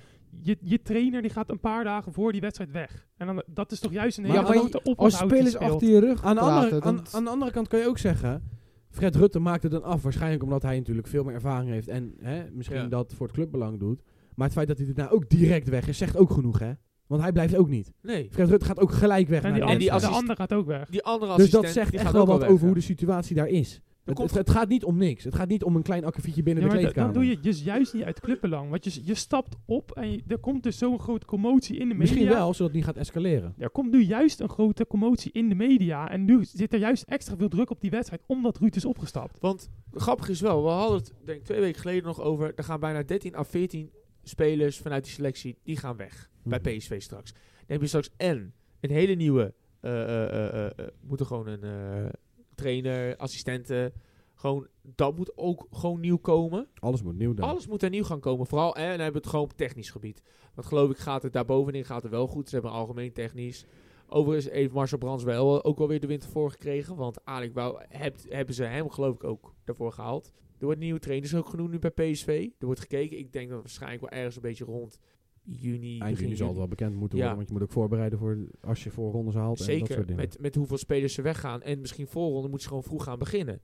je, je trainer die gaat een paar dagen voor die wedstrijd weg. En dan, dat is toch juist een
Maar
hele
als je-
grote oponthoud
Als
die
spelers
speelt.
achter je rug
Aan de, andere,
praten,
aan,
dan-
aan de andere kant kan je ook zeggen... Fred Rutte maakt het dan af. Waarschijnlijk omdat hij natuurlijk veel meer ervaring heeft. En hè, misschien
Ja.
dat voor het clubbelang doet. Maar het feit dat hij daarna ook direct weg is, zegt ook genoeg, hè? Want hij blijft ook niet.
Nee.
Fred Rutte gaat ook gelijk weg.
En
naar
die,
de
en
ander-
die
wedstrijd.
de
assist-
ander gaat ook weg.
Die andere
dus
assistent,
dat zegt
die
echt
gaat
wel
ook
wat
weg,
over hoe
ja.
de situatie daar is. Het,
komt-
het, het gaat niet om niks. Het gaat niet om een klein akkefietje binnen
Ja,
de
maar da- dan
kleedkamer.
doe je het dus juist niet uit clubbelang. Want je, je stapt op en je- er komt dus zo'n grote commotie in de media.
Misschien wel, zodat het niet gaat escaleren.
Er komt nu juist een grote commotie in de media. En nu zit er juist extra veel druk op die wedstrijd. Omdat Ruud is opgestapt.
Want grappig is wel, we hadden het denk ik twee weken geleden nog over. Er gaan bijna 13 à 14 spelers vanuit die selectie, die gaan weg. Bij
Mhm.
PSV straks. Dan heb je straks en een hele nieuwe, eh eh eh, eh, eh, moet er gewoon een eh, trainer, assistenten. Gewoon, dat moet ook gewoon nieuw komen.
Alles moet nieuw dan.
Alles moet er nieuw gaan komen. Vooral, eh, en dan hebben we het gewoon op technisch gebied. Want geloof ik gaat het daar bovenin gaat het wel goed. Ze hebben algemeen technisch. Overigens heeft Marcel Brands wel eh, ook alweer de winter voor gekregen. Want Alec Wou hebt, hebben ze hem geloof ik ook daarvoor gehaald. Er wordt nieuwe trainers ook genoemd nu bij PSV. Er wordt gekeken. Ik denk dat het waarschijnlijk wel ergens een beetje rond juni.
Eind
begin
juni zal het
juli.
wel bekend moeten
Ja.
worden. Want je moet ook voorbereiden voor als je voorrondes haalt. en dat
Zeker,
soort dingen.
met, met hoeveel spelers ze weggaan. En misschien voorronde moet ze gewoon vroeg gaan beginnen.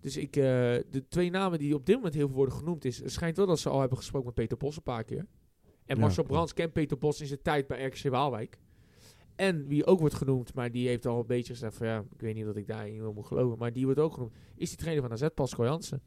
Dus ik, eh, de twee namen die op dit moment heel veel worden genoemd is... Het schijnt wel dat ze al hebben gesproken met Peter Bos een paar keer. En
Ja,
Marcel
klopt.
Brands kent Peter Bos in zijn tijd bij RKC Waalwijk. En wie ook wordt genoemd, maar die heeft al een beetje gezegd van... Ja, ik weet niet dat ik daarin wil moet geloven. Maar die wordt ook genoemd. Is die trainer van AZ, Pascal Jansen.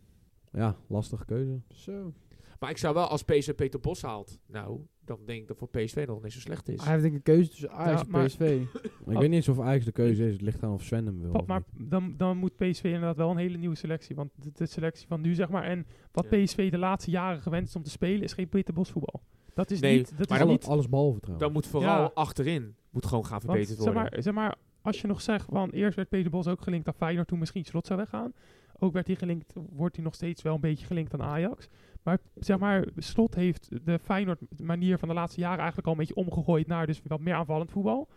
Ja, lastige keuze.
Zo.
Maar ik zou wel, als PSV Peter Bos haalt... Nou, dan denk ik dat voor PSV nog niet zo slecht is.
Hij heeft denk ik een keuze tussen Ajax
Ja,
en
maar-
PSV.
Maar
Oh.
ik weet niet eens of eigenlijk de keuze is. Het ligt aan of Sven hem wil.
Pa-
of
maar
niet.
dan, dan moet PSV inderdaad wel een hele nieuwe selectie. Want de, de selectie van nu, zeg maar. En wat
Ja.
PSV de laatste jaren gewend is om te spelen, is geen Peter Bos voetbal. Dat is
Nee,
niet. Dat
maar
is
dan-
niet.
Alles behalve trouwens.
Dan moet vooral
Ja.
achterin moet gewoon gaan
Want,
verbeterd
zeg,
worden.
maar, zeg maar, als je nog zegt, want eerst werd Peter Bos ook gelinkt aan Feyenoord, toen misschien Slot zou weggaan. Ook werd hij gelinkt, wordt hij nog steeds wel een beetje gelinkt aan Ajax. Maar zeg maar, Slot heeft de Feyenoord manier van de laatste jaren eigenlijk al een beetje omgegooid naar dus wat meer aanvallend voetbal.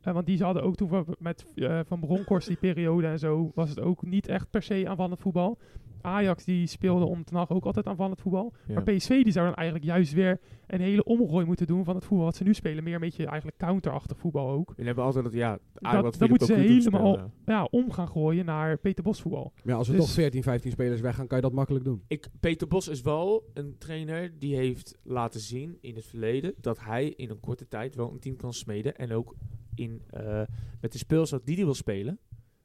Eh, want die hadden ook toen van- met eh, Van Bronckhorst die periode en zo, was het ook niet echt per se aanvallend voetbal. Ajax die speelde om ten Hag ook altijd aanvallend voetbal.
Ja.
Maar PSV die zou dan eigenlijk juist weer een hele omgooi moeten doen van het voetbal wat ze nu spelen. Meer een beetje eigenlijk counterachtig voetbal ook.
En hebben altijd dat, ja,
Dat-
wat
dat
Philip
moeten ze
Cocu doet
helemaal-
spelen.
ja, om gaan gooien naar Peter Bos voetbal.
Maar ja, als er
dus-
toch 14, 15 spelers weggaan, kan je dat makkelijk doen.
Ik, Peter Bos is wel een trainer die heeft laten zien in het verleden dat hij in een korte tijd wel een team kan smeden. En ook in, eh, met de speelstad die hij wil spelen,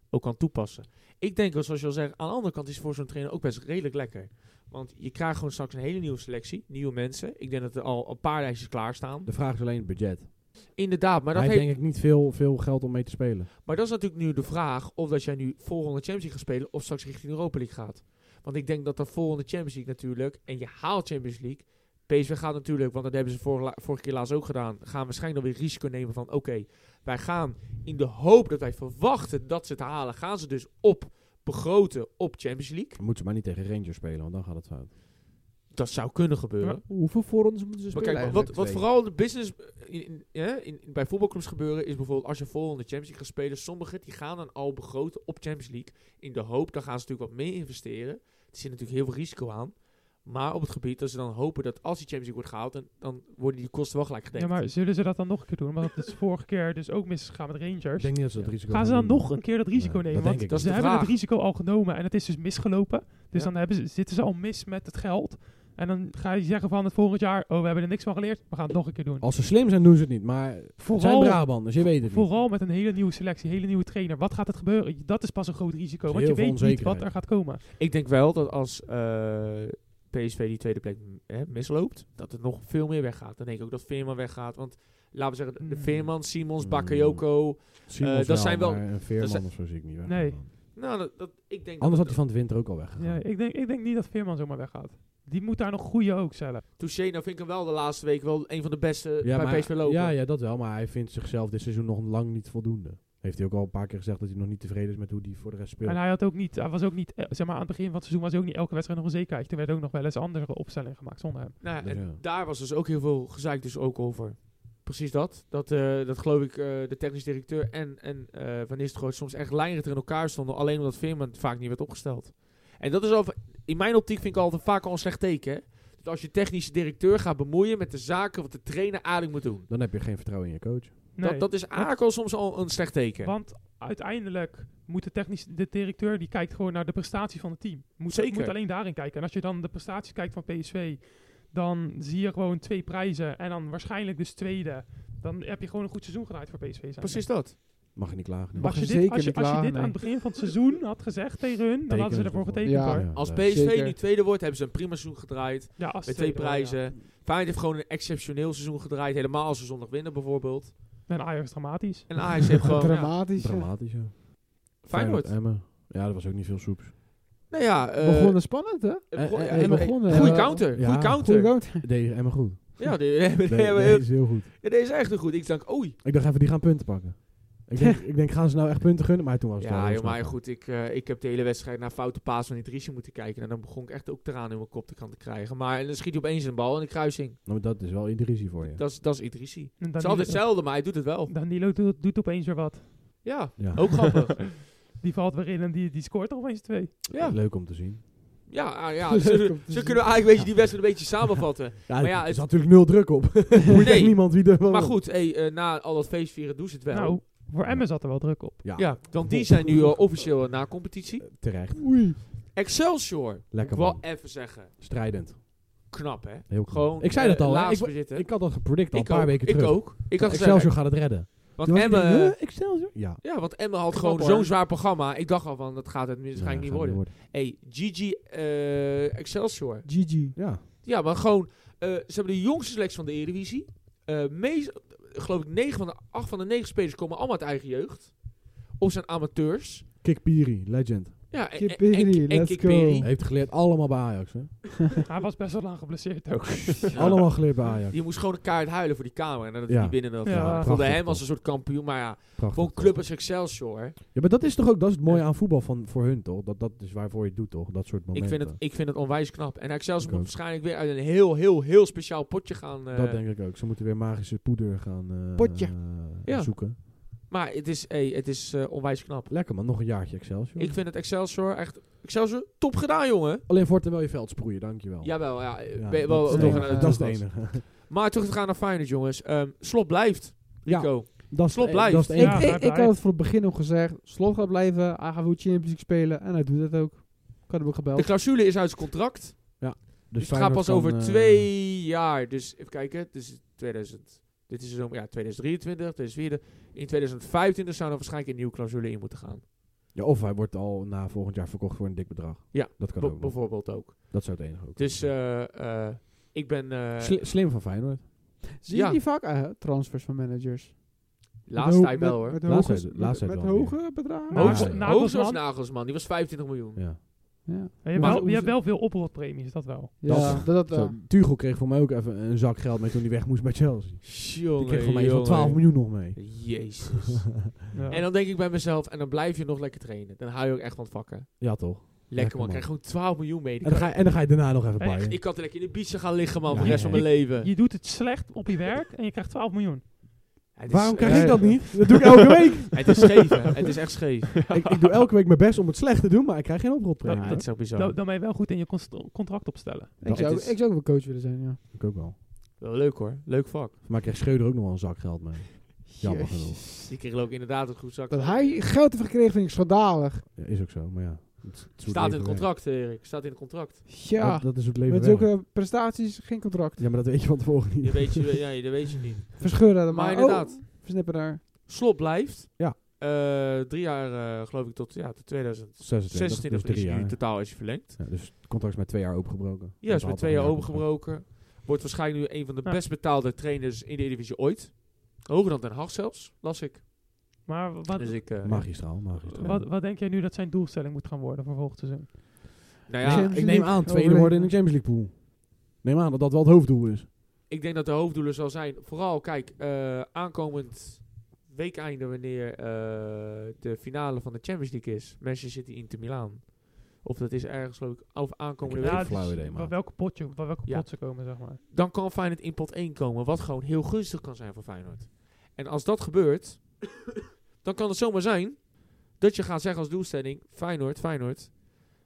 ook kan toepassen. Ik denk, wel, zoals je al zegt, aan de andere kant is het voor zo'n trainer ook best redelijk lekker. Want je krijgt gewoon straks een hele nieuwe selectie, nieuwe mensen. Ik denk dat er al een paar lijstjes klaarstaan.
De vraag is alleen het budget. Maar
Inderdaad, maar
Hij
dat,
heeft
heeft,
denk ik niet veel, veel geld om mee te spelen.
maar dat is natuurlijk nu de vraag of dat jij nu volgende Champions League gaat spelen of straks richting Europa League gaat. Want ik denk dat de volgende Champions League natuurlijk, en je haalt Champions League, PSV gaat natuurlijk, want dat hebben ze vorige, la- vorige keer laatst ook gedaan, gaan waarschijnlijk dan weer risico nemen van oké, wij gaan in de hoop dat wij verwachten dat ze het halen, gaan ze dus op begroten op Champions League.
Dan moet ze maar niet tegen Rangers spelen, want dan gaat het fout.
Dat zou kunnen gebeuren.
Hoeveel voorrondes moeten ze
Maar
spelen
kijk,
eigenlijk?
wat, wat
twee.
vooral de business in, in- hè, in- in- bij voetbalclubs gebeuren is bijvoorbeeld als je volgende Champions League gaat spelen, sommigen die gaan dan al begroten op Champions League in de hoop, dan gaan ze natuurlijk wat meer investeren. Er zit natuurlijk heel veel risico aan. Maar op het gebied dat ze dan hopen dat als die Champions League wordt gehaald, dan, dan worden die kosten wel gelijk gedekt.
Ja, maar zullen ze dat dan nog een keer doen? Want het is vorige keer dus ook misgegaan
Ik
met Rangers.
denk niet dat ze dat risico
Gaan ze dan
gaan
nog
doen.
een keer dat risico
Nee,
nemen?
dat
want
denk ik
dat is
ze
de
hebben het
vraag.
risico al genomen en het is dus misgelopen. Dus
Ja.
dan hebben ze, zitten ze al mis met het geld. En dan ga je zeggen van het volgend jaar, oh we hebben er niks van geleerd, we gaan het nog een keer doen.
Als ze slim zijn, doen Oh, ze het niet. Maar het zijn
Vooral,
Brabanders, je weet het niet.
vooral met een hele nieuwe selectie, een hele nieuwe trainer. Wat gaat het gebeuren? Dat is pas een groot risico,
Heel
want je
veel
weet niet wat
onzekerheid.
er gaat komen.
Ik denk wel dat als eh, PSV die tweede plek m- hè, misloopt, dat het nog veel meer weggaat. Dan denk ik ook dat Veerman weggaat. Want laten we zeggen, de
Mm.
Veerman, Simons,
Mm.
Bakayoko.
Simons
Eh, dat zijn wel-
maar Een Veerman
zijn-
of zo zie ik niet. weg.
Nee.
Nou, dat, dat, ik denk
Anders had
dat
hij van de winter ook al weg.
Ja, ik, denk, ik denk niet dat Veerman zomaar weggaat. Die moet daar nog goeie ook zelf.
Touché, nou vind ik hem wel de laatste week wel een van de beste Eh, bij
maar,
PSV lopen.
Ja, ja, dat wel. Maar hij vindt zichzelf dit seizoen nog lang niet voldoende. Heeft hij ook al een paar keer gezegd dat hij nog niet tevreden is met hoe hij voor de rest speelt.
En hij had ook niet, hij was ook niet, eh, zeg maar aan het begin van het seizoen was hij ook niet elke wedstrijd nog een zekerheid. Er werd ook nog wel eens andere opstellingen gemaakt zonder hem.
Nou, ja,
Dus
en
ja.
daar was dus ook heel veel gezeik dus ook over. Precies dat. Dat, eh, dat geloof ik, eh, de technisch directeur en, en eh, Van Nistelrooy soms echt lijnrechter in elkaar stonden. Alleen omdat Veerman vaak niet werd opgesteld. En dat is al, in mijn optiek vind ik altijd vaak al een slecht teken. hè. Dat als je technische directeur gaat bemoeien met de zaken wat de trainer eigenlijk moet doen.
Dan heb je geen vertrouwen in je coach.
Nee,
Dat, dat is eigenlijk al soms al een slecht teken.
want uiteindelijk moet de technische de directeur, die kijkt gewoon naar de prestaties van het team. Moet,
Zeker.
moet alleen daarin kijken. En als je dan de prestaties kijkt van PSV, dan zie je gewoon twee prijzen en dan waarschijnlijk dus tweede. Dan heb je gewoon een goed seizoen gedraaid voor PSV. Zijn.
Precies dat.
Mag je niet klagen.
Mag
Als je,
je
dit,
zeker
als, je,
niet
als je
klagen,
dit aan
nee.
het begin van het seizoen had gezegd tegen hun, dan hadden ze
Tekenen
ervoor
ze ervoor.
getekend
Ja.
hoor.
Ja,
Als
ja.
PSV
Zeker.
nu tweede wordt, hebben ze een prima seizoen gedraaid.
Ja, als
Met twee
tweede, ja.
prijzen. Feyenoord heeft gewoon een exceptioneel seizoen gedraaid. Helemaal als ze zondag winnen bijvoorbeeld.
En Ajax dramatisch.
En Ajax heeft gewoon... ja,
Dramatisch. ja.
Dramatisch, ja.
Feyenoord.
Emmen. Ja, dat was ook niet veel soeps.
Nou ja, eh,
Begonnen spannend, hè?
eh, bego-
eh,
eh,
eh,
eh,
begonnen,
goeie
eh,
counter,
ja,
goeie
Goeie
counter.
goat.
Deed Emmen goed.
Ja, die hebben- die
Nee,
hebben-
nee, is heel goed.
ja, deze is echt een goed. Ik oh, dacht, oei.
Ik dacht even, die gaan punten pakken. Ik denk, ik denk gaan ze nou echt punten gunnen? Maar toen was het al
Ja,
heel
joh, maar
snel.
goed, ik, eh, ik heb de hele wedstrijd naar foute paas van Idrissi moeten kijken. En dan begon ik echt ook eraan in mijn kop te kanten krijgen. Maar en dan schiet hij opeens een bal in de kruising.
Nou, maar dat is wel Idrissi voor je.
Dat is, dat is Idrissi.
En
Het is
Danilo-
altijd hetzelfde, maar hij doet het wel.
Danilo doet, doet opeens weer wat.
Ja,
Ja.
ook grappig.
Die valt weer in en die, die scoort er opeens twee.
Ja,
Leuk om te zien.
ja, ah, ja.
Leuk
Zo, zo
om te zien.
kunnen we eigenlijk weet je, die wedstrijd een beetje samenvatten.
Ja,
Maar ja,
er
het-
is natuurlijk nul druk op. Er is echt
Nee.
niemand die er wel-
Maar goed, hey, eh, na al dat feestvieren doen ze het wel.
Nou, voor Emmen zat er wel druk op.
Ja, Eh,
ja, want die zijn nu eh, officieel na competitie.
terecht.
Oei.
Excelsior.
Lekker
Wel
man.
even zeggen.
Strijdend.
Knap, hè?
Heel knap.
Gewoon.
Ik zei dat
eh,
al, hè?
laatst
Ik-
bezitten.
Ik had dat gepredict al een
Ik
paar
ook,
weken
ik
terug.
ook. Ik had gezegd,
Excelsior gaat het redden.
want
Toen was ik denk,
Emmen,
huh, Excelsior? Ja.
ja, want Emmen had
Knap,
gewoon
hoor.
zo'n zwaar programma. Ik dacht al van, dat gaat het waarschijnlijk
Ja,
niet
gaat
worden. hey, Gigi eh, Excelsior.
GG.
Ja.
Ja, maar gewoon, eh, ze hebben de jongste selectie van de Eredivisie. Eh meest, geloof ik, 9 van de 8 van de 9 spelers komen allemaal uit eigen jeugd. Of zijn amateurs.
Kikpiri, legend.
Ja, en-
Kip
en-
Peri,
en- en
let's
Kip
go.
Peri.
Heeft geleerd allemaal bij Ajax, hè?
Hij was best wel lang geblesseerd ook.
Allemaal geleerd bij Ajax.
Die moest gewoon een kaart huilen voor die camera. En dat hij
Ja.
niet binnen dat.
Ja.
Ik voelde
prachtig,
hem als
toch?
een soort kampioen. Maar ja,
Prachtig,
voor een
toch?
club als Excelsior. hè.
Ja, maar dat is toch ook dat is het mooie aan voetbal van, voor hun, toch? Dat, dat is waarvoor je het doet, toch? Dat soort
Ik
momenten.
vind, het, ik vind het onwijs knap. En Excelsior
Ik
moet
ook.
waarschijnlijk weer uit een heel, heel, heel speciaal potje gaan. eh,
dat denk ik ook. Ze moeten weer magische poeder gaan eh,
Potje.
eh,
Ja.
zoeken.
Maar het is, hey, het is eh, onwijs knap.
Lekker man, nog een jaartje Excelsior.
Ik vind het Excelsior echt... Excelsior, top gedaan, jongen.
Alleen voor terwijl je veld sproeien, dankjewel.
Jawel, ja. eh,
Ja,
ben je
dat,
wel,
is
toch
het
een-
enige. dat is het enige.
Maar terug te gaan naar Feyenoord, jongens. Ehm Slot blijft,
Ja.
Rico.
Dat is,
Slot
het e-
blijft.
Dat is het
Ik,
Ja,
enige.
ik,
blijft
ik
bij.
had het voor het begin al gezegd. Slot gaat blijven. Hij gaat goed Champions League spelen. En hij doet dat ook. Ik had hem ook
De
gebeld.
clausule is uit zijn contract. Dus, het gaat
Feyenoord
pas
kan,
over
eh,
twee jaar. Dus even kijken. Dit is 2000... Dit is zo, ja, 2023, 2024. In 2025 zou er waarschijnlijk een nieuwe clausule in moeten gaan.
Ja, of hij wordt al na volgend jaar verkocht voor een dik bedrag.
Ja,
dat kan
B-
ook. nog.
bijvoorbeeld ook.
Dat zou het enige ook.
Dus
zijn.
eh, eh, ik ben... eh,
Sli- slim van Feyenoord.
Zie je
ja.
die vaak eh, transfers van managers?
Laatst tijd wel, hoor.
Laatst
Laatste
tijd- laatst tijd
Met
wel
hoge bedragen.
Nou,
Hoogst,
ja.
hoogst was
Nagelsman.
Nagelsman. Die was 25 miljoen.
Ja.
Ja,
Je hebt,
Maar
wel,
hoe
je
ze-
hebt wel veel oprotpremies, dat wel.
ja
Dat-
dat, dat, eh,
Zo, Tuchel kreeg voor mij ook even een zak geld mee toen hij weg moest bij Chelsea. Die
Jongen,
kreeg voor mij zo'n
jongen.
12 miljoen nog mee.
Jezus.
Ja.
en dan denk ik bij mezelf, en dan blijf je nog lekker trainen. Dan hou je ook echt van het vakken.
Ja, toch?
Lekker
Lekker,
man,
man.
krijg gewoon 12 miljoen mee. Die
En dan ga je, en dan ga je daarna nog even
Echt?
bij.
kan- ik kan er lekker in de bieten gaan liggen man,
Ja,
voor de rest
ja,
van mijn leven.
Je doet het slecht op je werk en je krijgt 12 miljoen.
Het is-
Waarom
eh,
krijg ik dat niet? Dat doe ik elke week.
Het is scheef, hè. het is echt scheef.
ik, ik doe elke week mijn best om het slecht te doen, maar ik krijg geen
Ja,
oprotpremie.
het is ook bizar.
Dan, dan ben je wel goed in je const- contract opstellen.
ik, zou,
het is-
ik zou ook wel coach willen zijn, ja.
Ik ook wel.
Wel leuk hoor, leuk vak.
Maar ik kreeg Schreuder ook nog wel een zak geld mee. Jammer
Jezus.
genoeg.
Die kreeg ook inderdaad een goed zak.
Dat hij geld heeft gekregen vind ik schandalig.
Ja, is ook zo, maar ja. Het, het is hoe
Staat in
leven
het contract, Erik. Staat in het contract.
werkt.
Ja,
Dat, dat is eh, hoe het leven
met
werkt.
zulke prestaties geen contract.
Ja, maar dat weet je van tevoren
Je
niet.
weet je, ja, dat weet je niet.
Verscheuren er maar.
Maar inderdaad,
Oh, versnippen daar.
Slot blijft.
Ja.
Eh, Eh, drie jaar, eh, geloof ik, tot, ja, tot 2026.
26, dus
is
drie
nu
jaar.
totaal is hij verlengd.
Ja, dus het contract is met twee jaar opengebroken.
Ja, is
Dat
met
had
twee
een
jaar
contract.
opengebroken. Wordt waarschijnlijk nu een van de
Ja.
best betaalde trainers in de Eredivisie ooit. Hoger dan Den Haag zelfs, las ik.
Maar wat,
dus ik, eh,
Magistraal, magistraal.
wat, wat denk jij nu dat zijn doelstelling moet gaan worden voor volgend seizoen?
nou ja,
Ja,
Champions
ik neem
League
aan, tweede
overleven.
worden in de Champions League pool. Neem aan dat dat wel het hoofddoel is.
ik denk dat de hoofddoelen zal zijn. Vooral, kijk, eh, aankomend weekeinde wanneer eh, de finale van de Champions League is. Manchester City Inter Milaan. Of dat is ergens, geloof ik, of aankomende
Ik heb
week.
geen flauw
dus
idee,
wa-
maar-
welke potje, wa- welke
Ja.
pot ze komen, zeg maar.
Dan kan Feyenoord in pot 1 komen. Wat gewoon heel gunstig kan zijn voor Feyenoord. En als dat gebeurt, dan kan het zomaar zijn dat je gaat zeggen als doelstelling... Feyenoord, Feyenoord,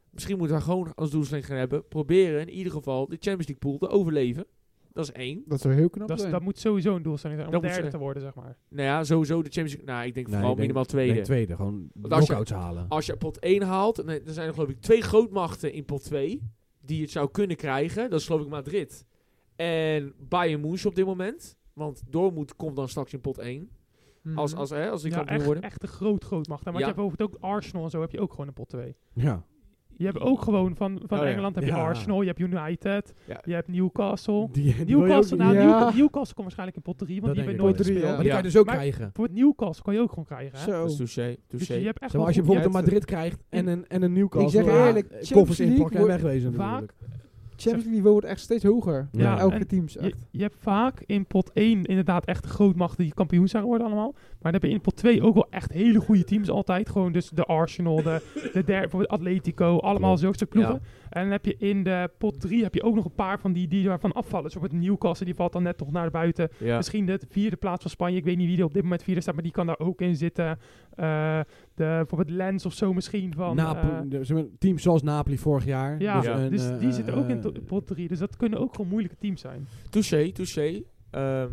misschien moeten we gewoon als doelstelling gaan hebben... proberen in ieder geval de Champions League pool te overleven. Dat is één.
Dat zou heel knap
Dat, is-
zijn.
dat moet sowieso een doelstelling zijn om
Dat moet
derde
ze-
te worden, zeg maar.
Nou ja, sowieso de Champions League... Nou, ik denk
Nee,
vooral
ik denk-
minimaal
Nee,
tweede.
tweede. Gewoon
Want als je-
knockouts halen.
Als je pot 1 haalt, en, eh, dan zijn er geloof ik twee grootmachten in pot 2 die het zou kunnen krijgen. Dat is geloof ik Madrid en Bayern München op dit moment. Want Dortmund komt dan straks in pot 1.
Mhm.
Als, als, hè, als die
Ja,
kampioen
echt,
worden.
echt een groot, groot macht. En Want
Ja.
je hebt bijvoorbeeld ook Arsenal en zo heb je ook gewoon een pot 2.
Ja.
Je hebt ook gewoon van, van
Oh ja.
Engeland heb je
Ja.
Arsenal, je hebt United,
Ja.
je hebt Newcastle.
Die, die wil je ook
Newcastle,
niet.
nou,
Ja.
Newca- Newcastle komt waarschijnlijk in pot 3,
Dat
want die
denk
hebben
ik
nooit
wel.
gespeeld.
Ja.
Maar die
Ja.
kan je dus ook
Maar-
krijgen.
Voor het Newcastle kan je ook gewoon krijgen. Hè?
Zo.
Dat is touché.
Dus je
touché.
hebt echt
Zeg maar, als je
wel
bijvoorbeeld een
Ja,
Madrid krijgt en een, en een Newcastle.
Ik zeg
ja,
eerlijk,
eh,
Champions
koffers inpakken en
League
wegwezen
vaak-
natuurlijk.
Champions League wordt echt steeds hoger.
Ja.
Ja, elke
en
teams
Je,
echt.
je hebt vaak in pot 1 inderdaad echt grootmachten die kampioen zijn geworden allemaal. Maar dan heb je in pot 2 ook wel echt hele goede teams altijd. Gewoon dus de Arsenal, de, de der, bijvoorbeeld Atletico, allemaal
Klopt.
zulke soort ploegen. En dan heb je in de pot 3 heb je ook nog een paar van die, die daarvan afvallen. Dus op het Newcastle, die valt dan net toch naar buiten.
Ja.
Misschien de vierde plaats van Spanje. Ik weet niet wie er op dit moment vierde staat, maar die kan daar ook in zitten. Eh, de, bijvoorbeeld Lens of zo misschien van...
Napoli-
eh,
de- zeg maar, teams zoals Napoli vorig jaar.
ja,
Ja.
een,
dus
eh,
die zitten ook in to-
eh,
pot 3. Dus dat kunnen ook gewoon moeilijke teams zijn.
Touché, touché. Ehm,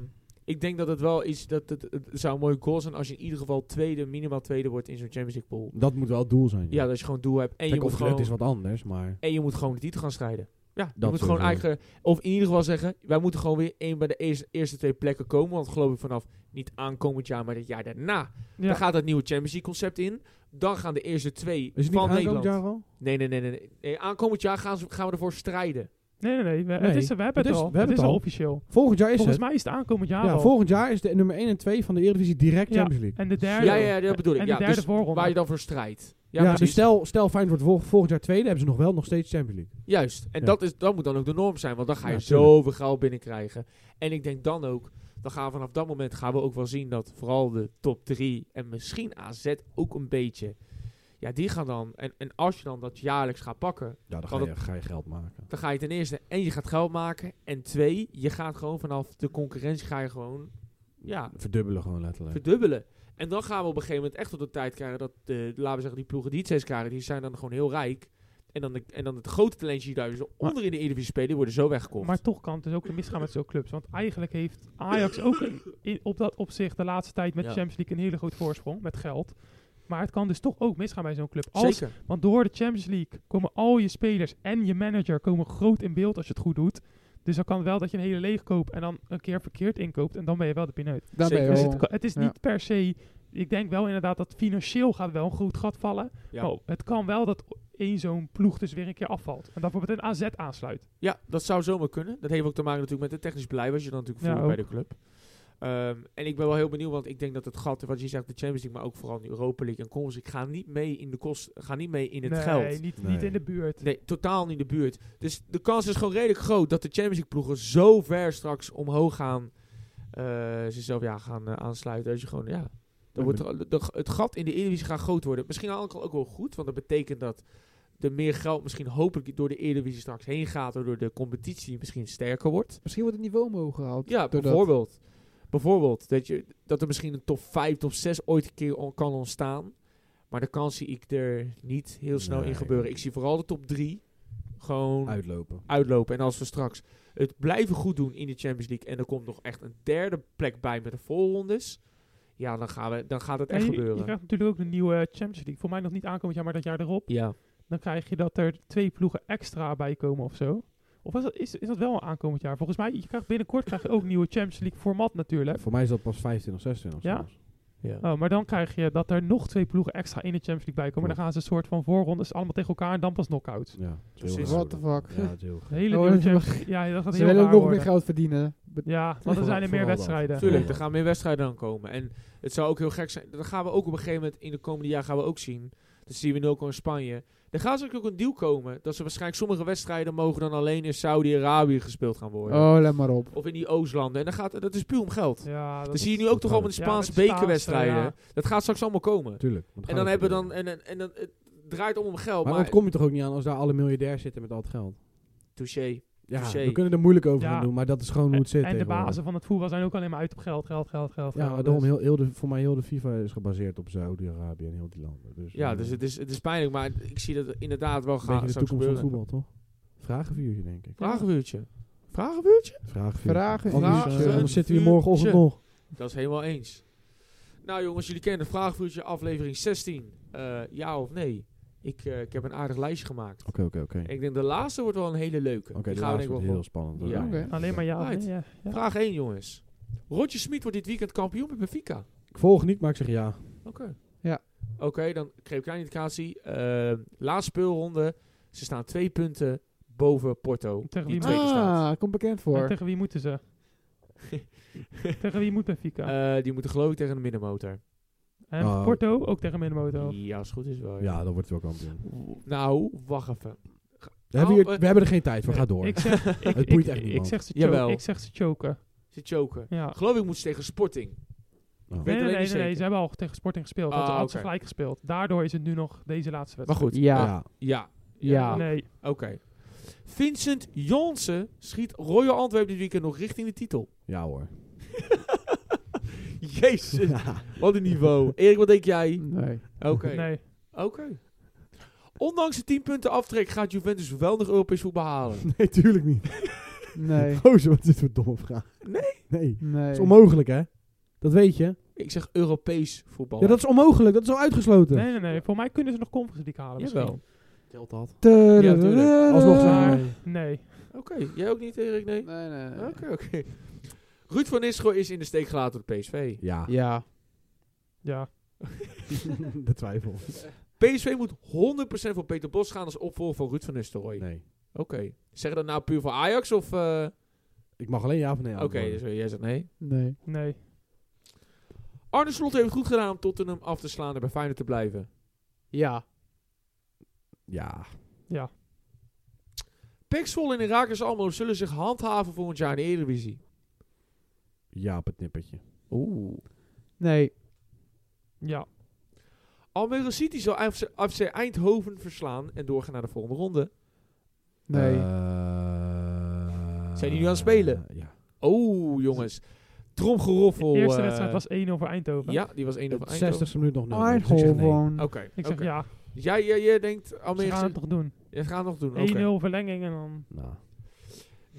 ik denk dat het wel is. Dat het, het zou een mooie goal zijn als je in ieder geval tweede, minimaal tweede wordt in zo'n Champions League pool.
Dat moet wel het doel zijn.
Ja, dat je gewoon doel hebt. En
Kijk,
je moet
of het lukt
gewoon.
is wat anders, maar...
En je moet gewoon de titel gaan strijden. Ja, je
Dat
moet gewoon
sowieso.
eigen... Of in ieder geval zeggen, wij moeten gewoon weer één bij de eerste, eerste twee plekken komen. Want geloof ik vanaf niet aankomend jaar, maar het jaar daarna.
Ja.
Dan gaat dat nieuwe Champions League concept in. Dan gaan de eerste twee
Is het niet
van
aankomend
Nederland.
jaar al?
Nee, nee, nee, nee, nee. nee. Aankomend jaar gaan, ze, gaan we ervoor strijden.
Nee, nee, nee. We,
Nee,
het is, we hebben
het
het,
is-
al.
we hebben
het
het
is al
al.
officieel.
Volgend jaar is
Volgens
het.
mij is het aankomend jaar
ja,
al.
volgend jaar is de nummer 1 en 2 van de Eredivisie direct
Ja.
Champions League.
en de derde.
Ja, ja, ja, dat bedoel ik.
En
ja,
de derde
dus
voorronde.
waar je dan voor strijdt. Ja,
Ja, dus
precies.
stel, stel Feyenoord wordt vol- volgend jaar tweede, hebben ze nog wel nog steeds Champions League.
Juist. En
Ja.
dat, is, dat moet dan ook de norm zijn. Want dan ga je
Ja, tuurlijk.
zoveel geld binnenkrijgen. En ik denk dan ook... Dan gaan we vanaf dat moment gaan we ook wel zien dat vooral de top 3 en misschien AZ ook een beetje... Ja, die gaan dan... En, en als je dan dat jaarlijks gaat pakken...
Ja, dan
Kan
ga je, ga je geld maken.
Dan ga je ten eerste en je gaat geld maken. En twee, je gaat gewoon vanaf de concurrentie ga je gewoon ja,
Verdubbelen gewoon letterlijk.
verdubbelen. En dan gaan we op een gegeven moment echt tot de tijd krijgen dat, eh, laten we zeggen, die ploegen die het steeds krijgen, die zijn dan gewoon heel rijk. En dan, de, en dan het grote talentje die daar dus onder in de Eredivisie spelen, die worden zo weggekocht.
Maar toch kan het dus ook misgaan met zo'n clubs. Want eigenlijk heeft Ajax ook in, in- op dat opzicht de laatste tijd met
Ja.
de Champions League een hele grote voorsprong met geld. Maar het kan dus toch ook misgaan bij zo'n club. Als,
Zeker.
want door de Champions League komen al je spelers en je manager komen groot in beeld als je het goed doet. Dus dan kan wel dat je een hele leeg koopt en dan een keer verkeerd inkoopt. En dan ben je wel de pineut.
Daar ben
zeker.
je
Dus
Ja.
het,
wel.
kan- het is
oh. Ja.
niet per se. Ik denk wel inderdaad dat financieel gaat wel een groot gat vallen.
Ja.
Maar het kan wel dat één zo'n ploeg dus weer een keer afvalt. En dat bijvoorbeeld een AZ aansluit.
Ja, dat zou zomaar kunnen. Dat heeft ook te maken natuurlijk met het technisch beleid, wat je dan natuurlijk
Ja,
voert bij
ook.
de club. Ehm, en ik ben wel heel benieuwd, want ik denk dat het gat, wat je zegt, de Champions League, maar ook vooral de Europa League en Conference League, gaan niet mee in de kost, gaan niet mee in het
nee,
geld.
Niet,
Nee.
niet in de buurt.
Nee, totaal niet in de buurt. Dus de kans is gewoon redelijk groot dat de Champions League ploegen zo ver straks omhoog gaan. eh zichzelf ja, gaan eh, aansluiten. Dat je gewoon, ja. Dan wordt er- de- het gat in de Eredivisie gaat groot worden. Misschien ook, ook wel goed, want dat betekent dat er meer geld misschien hopelijk door de Eredivisie straks heen gaat. Waardoor de competitie misschien sterker wordt.
Misschien wordt het niveau omhoog gehaald.
Ja,
doordat-
bijvoorbeeld. Bijvoorbeeld dat, je, dat er misschien een top 5, top 6 ooit een keer on- kan ontstaan. Maar de kans zie ik er niet heel snel
Nee.
in gebeuren. Ik zie vooral de top 3 gewoon
Uitlopen.
uitlopen. En als we straks het blijven goed doen in de Champions League. En er komt nog echt een derde plek bij met de voorrondes. Ja, dan, gaan we, dan gaat het
En
echt
je, je
gebeuren.
krijgt natuurlijk ook de nieuwe Champions League. Voor mij nog niet aankomend jaar, maar dat jaar erop.
Ja.
Dan krijg je dat er twee ploegen extra bij komen of zo. Of is dat, is, is dat wel een aankomend jaar?
Eh,
Volgens mij, je krijgt binnenkort krijg je ook nieuwe Champions League format natuurlijk.
Voor mij is dat pas 25 of 26.
Ja?
zelfs.
Ja.
Oh, maar dan krijg je dat er nog twee ploegen extra in de Champions League bij komen. Dan gaan ze een soort van voorrondes allemaal tegen elkaar en dan pas knockouts.
Ja, het is heel
Precies.
raar
What the
worden.
fuck?
Ja, het is heel
De hele
Oh,
nieuwe
dat is
Champions League. Ja, dat gaat
Ze
heel
willen
raar
ook nog
worden.
meer geld verdienen. Be-
Ja, want er
Vooral-
zijn er meer
vooral dat.
wedstrijden.
Tuurlijk.
Tuurlijk, er gaan meer wedstrijden dan komen. En het zou ook heel gek zijn. Dat gaan we ook op een gegeven moment in de komende jaar gaan we ook zien. Dat zien we nu ook al in Spanje. Er gaat zeker ook een deal komen dat ze waarschijnlijk sommige wedstrijden mogen dan alleen in Saudi-Arabië gespeeld gaan worden.
Oh, let maar op.
Of in die Oostlanden. En dan gaat, dat is puur om geld.
Ja, dat
Dat zie je
is-
nu ook toch al met de
Ja, met
Spaanse
de Spaanse,
bekerwedstrijden.
ja.
Dat gaat straks allemaal komen.
Tuurlijk. want
En
gaan
dan
we
hebben we dan...
proberen.
En, en, en dan, het draait om om geld.
Maar,
Maar,
dat kom je toch ook niet aan als daar alle miljardairs zitten met al het geld?
touché.
Ja,
Touché.
we kunnen er moeilijk over
Ja.
gaan doen, maar dat is gewoon hoe het zit
En de
tegenwoordig.
bazen van het voetbal zijn ook alleen maar uit op geld, geld, geld, geld.
Ja,
geld.
daarom
Dus-
heel, heel de, voor mij heel de FIFA is gebaseerd op Saudi-Arabië en heel die landen. Dus,
Ja,
eh,
dus het is, het is pijnlijk. Maar ik zie dat inderdaad wel
een beetje
gaan
de
straks
toekomst van
gebeuren.
voetbal, toch? Vragenvuurtje, denk ik.
Vragenvuurtje. Vragenvuurtje?
Vragenvuurtje.
Vragen-
Anders, eh,
vragen-
anders zitten we hier morgenochtend
vuurtje.
nog.
Dat is helemaal eens. Nou jongens, jullie kennen het vragenvuurtje aflevering 16. Eh, ja of nee? Ik, eh, ik heb een aardig lijstje gemaakt.
Oké, oké, oké.
En ik denk de laatste wordt wel een hele leuke.
Oh. Oké,
Die
de
gaan we
laatste
denk ik
wordt
wel
heel spannend.
Ja.
Oké.
Oké.
Alleen maar ja. of
Right.
nee, ja, ja.
Vraag 1 jongens. Roger Smit wordt dit weekend kampioen met Benfica.
Ik volg niet, maar ik zeg ja.
Oké.
Ja.
Oké, dan kreeg ik een indicatie. Ehm, laatste speelronde. Ze staan twee punten boven Porto.
Tegen
die
wie
tweede
moet-
staat.
Ah, komt bekend
En
voor.
tegen wie moeten ze? tegen wie moet Benfica?
Eh, die moeten geloof ik tegen de middenmotor.
en
oh.
Porto ook tegen Minamoto.
Ja, als het goed is wel. Ja.
Ja, dan wordt het wel kampioen.
Nou, wacht even.
We hebben, hier-
eh,
we hebben er geen tijd voor, ga door.
Ik zeg, ik,
Het
ik,
boeit echt
ik,
niemand.
zeg ze
Jawel.
choken. Ik zeg ze choken.
Ze choken.
Ja.
Geloof ik moet ze tegen Sporting.
Oh.
weet
Nee, nee,
alleen
nee,
niet
nee, nee,
zeker.
ze hebben al tegen Sporting gespeeld.
Ah,
want ze hadden ze
oké.
gelijk gespeeld. Daardoor is het nu nog deze laatste
Maar
wedstrijd.
goed.
eh,
Ja.
Ja.
Ja.
Nee,
Oké. Vincent Jansen schiet Royal Antwerpen dit weekend nog richting de titel.
Ja hoor.
Jezus. Wat een niveau. Erik, wat denk jij?
Nee.
Oké.
nee.
Oké. Ondanks de 10 punten aftrek gaat Juventus wel nog Europees voetbal halen.
Nee, tuurlijk niet.
Nee.
Gozer, wat is dit voor domme vraag? Nee.
Nee.
Dat is onmogelijk, hè? Dat weet je.
Ik zeg Europees voetbal.
Ja, dat is onmogelijk. Dat is al uitgesloten.
Nee, nee, nee. Voor mij kunnen ze nog Conference League halen. misschien.
Jawel.
Telt dat.
Ja, tuurlijk.
Alsnog zijn
Maar-
we-
Nee.
Oké. Jij ook niet, Erik? Nee? Oké,
Nee, nee. nee.
oké. Ruud van Nistelrooy is in de steek gelaten door PSV.
Ja,
Ja.
Ja.
de twijfel.
PSV moet 100% voor Peter Bos gaan als opvolger van Ruud van Nistelrooy.
Nee.
Oké. Zeg je dat nou puur voor Ajax of... eh,
Ik mag alleen ja of nee
Oké, dus, eh, jij zegt nee.
Nee.
Nee.
Arne Slot heeft het goed gedaan om Tottenham af te slaan en bij Feyenoord te blijven.
Ja.
Ja.
Ja.
Pexvol en Irakers Almelo zullen zich handhaven volgend jaar in de Eredivisie.
Ja op het nippertje.
Oeh.
Nee.
Ja.
Almere City zal FC, FC Eindhoven verslaan en doorgaan naar de volgende ronde.
Nee.
nou, Eh,
Zijn die nu aan het spelen?
Ja.
Oh, jongens. Tromgeroffel.
De eerste
eh,
wedstrijd was 1 over Eindhoven.
Ja, die was 1 over Eindhoven.
60ste minuut nog nul. Dus ik zeg nee.
Eindhoven.
Oké,
Ik zeg
oké.
ja.
Jij, jij, jij denkt
Ze
Almere
gaan het
City...
toch doen.
Je gaat nog doen, oké.
1-0 verlenging en dan...
Nou,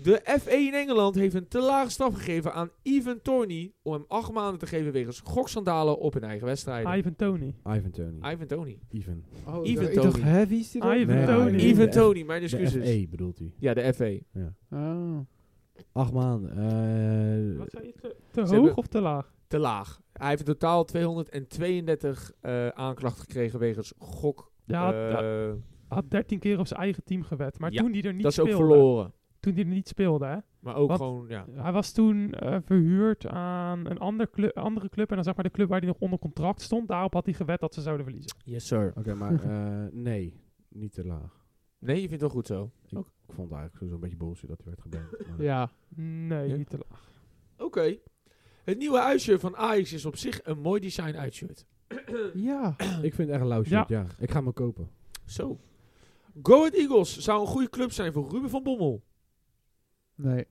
De F1 in Engeland heeft een te lage straf gegeven aan Ivan Tony om hem acht maanden te geven wegens gokschandalen op hun eigen wedstrijden.
Ivan Tony.
Ivan Tony.
Ivan Tony.
Ivan.
Oh,
Even
ik dacht,
Tony.
hè, wie is die dan?
Even
Nee,
Tony.
Even-
Ivan
de F-
Tony, mijn
De
excuses.
FE bedoelt hij.
Ja, de FE.
Oh.
Acht maanden. eh,
Wat zei je? Te, te hoog
Ze hebben-
of te laag?
Te laag. Hij heeft in totaal 232 eh, aanklachten gekregen wegens gok.
Ja,
eh,
dat- Had 13 keer op zijn eigen team gewet. Maar
Ja,
toen hij er niet
dat is ook
speelde.
verloren.
Toen hij er niet speelde, hè.
Maar ook
Wat?
gewoon, ja.
Hij was toen eh, verhuurd aan een ander clu- andere club. En dan zeg maar de club waar hij nog onder contract stond. Daarop had hij gewet dat ze zouden verliezen.
Yes, sir.
Oké, maar eh, nee. Niet te laag.
Nee, je vindt het wel goed zo.
Ik vond het eigenlijk zo'n beetje bullshit dat hij werd geband. maar-
Ja.
Nee,
Ja?
niet te laag.
Oké. Het nieuwe uitshirt van Ajax is op zich een mooi design uitshirt.
Ja.
Ik vind het echt een lauw shirt, ja. Ik ga hem ook kopen.
Zo. Go Ahead Eagles zou een goede club zijn voor Ruben van Bommel.
Nee.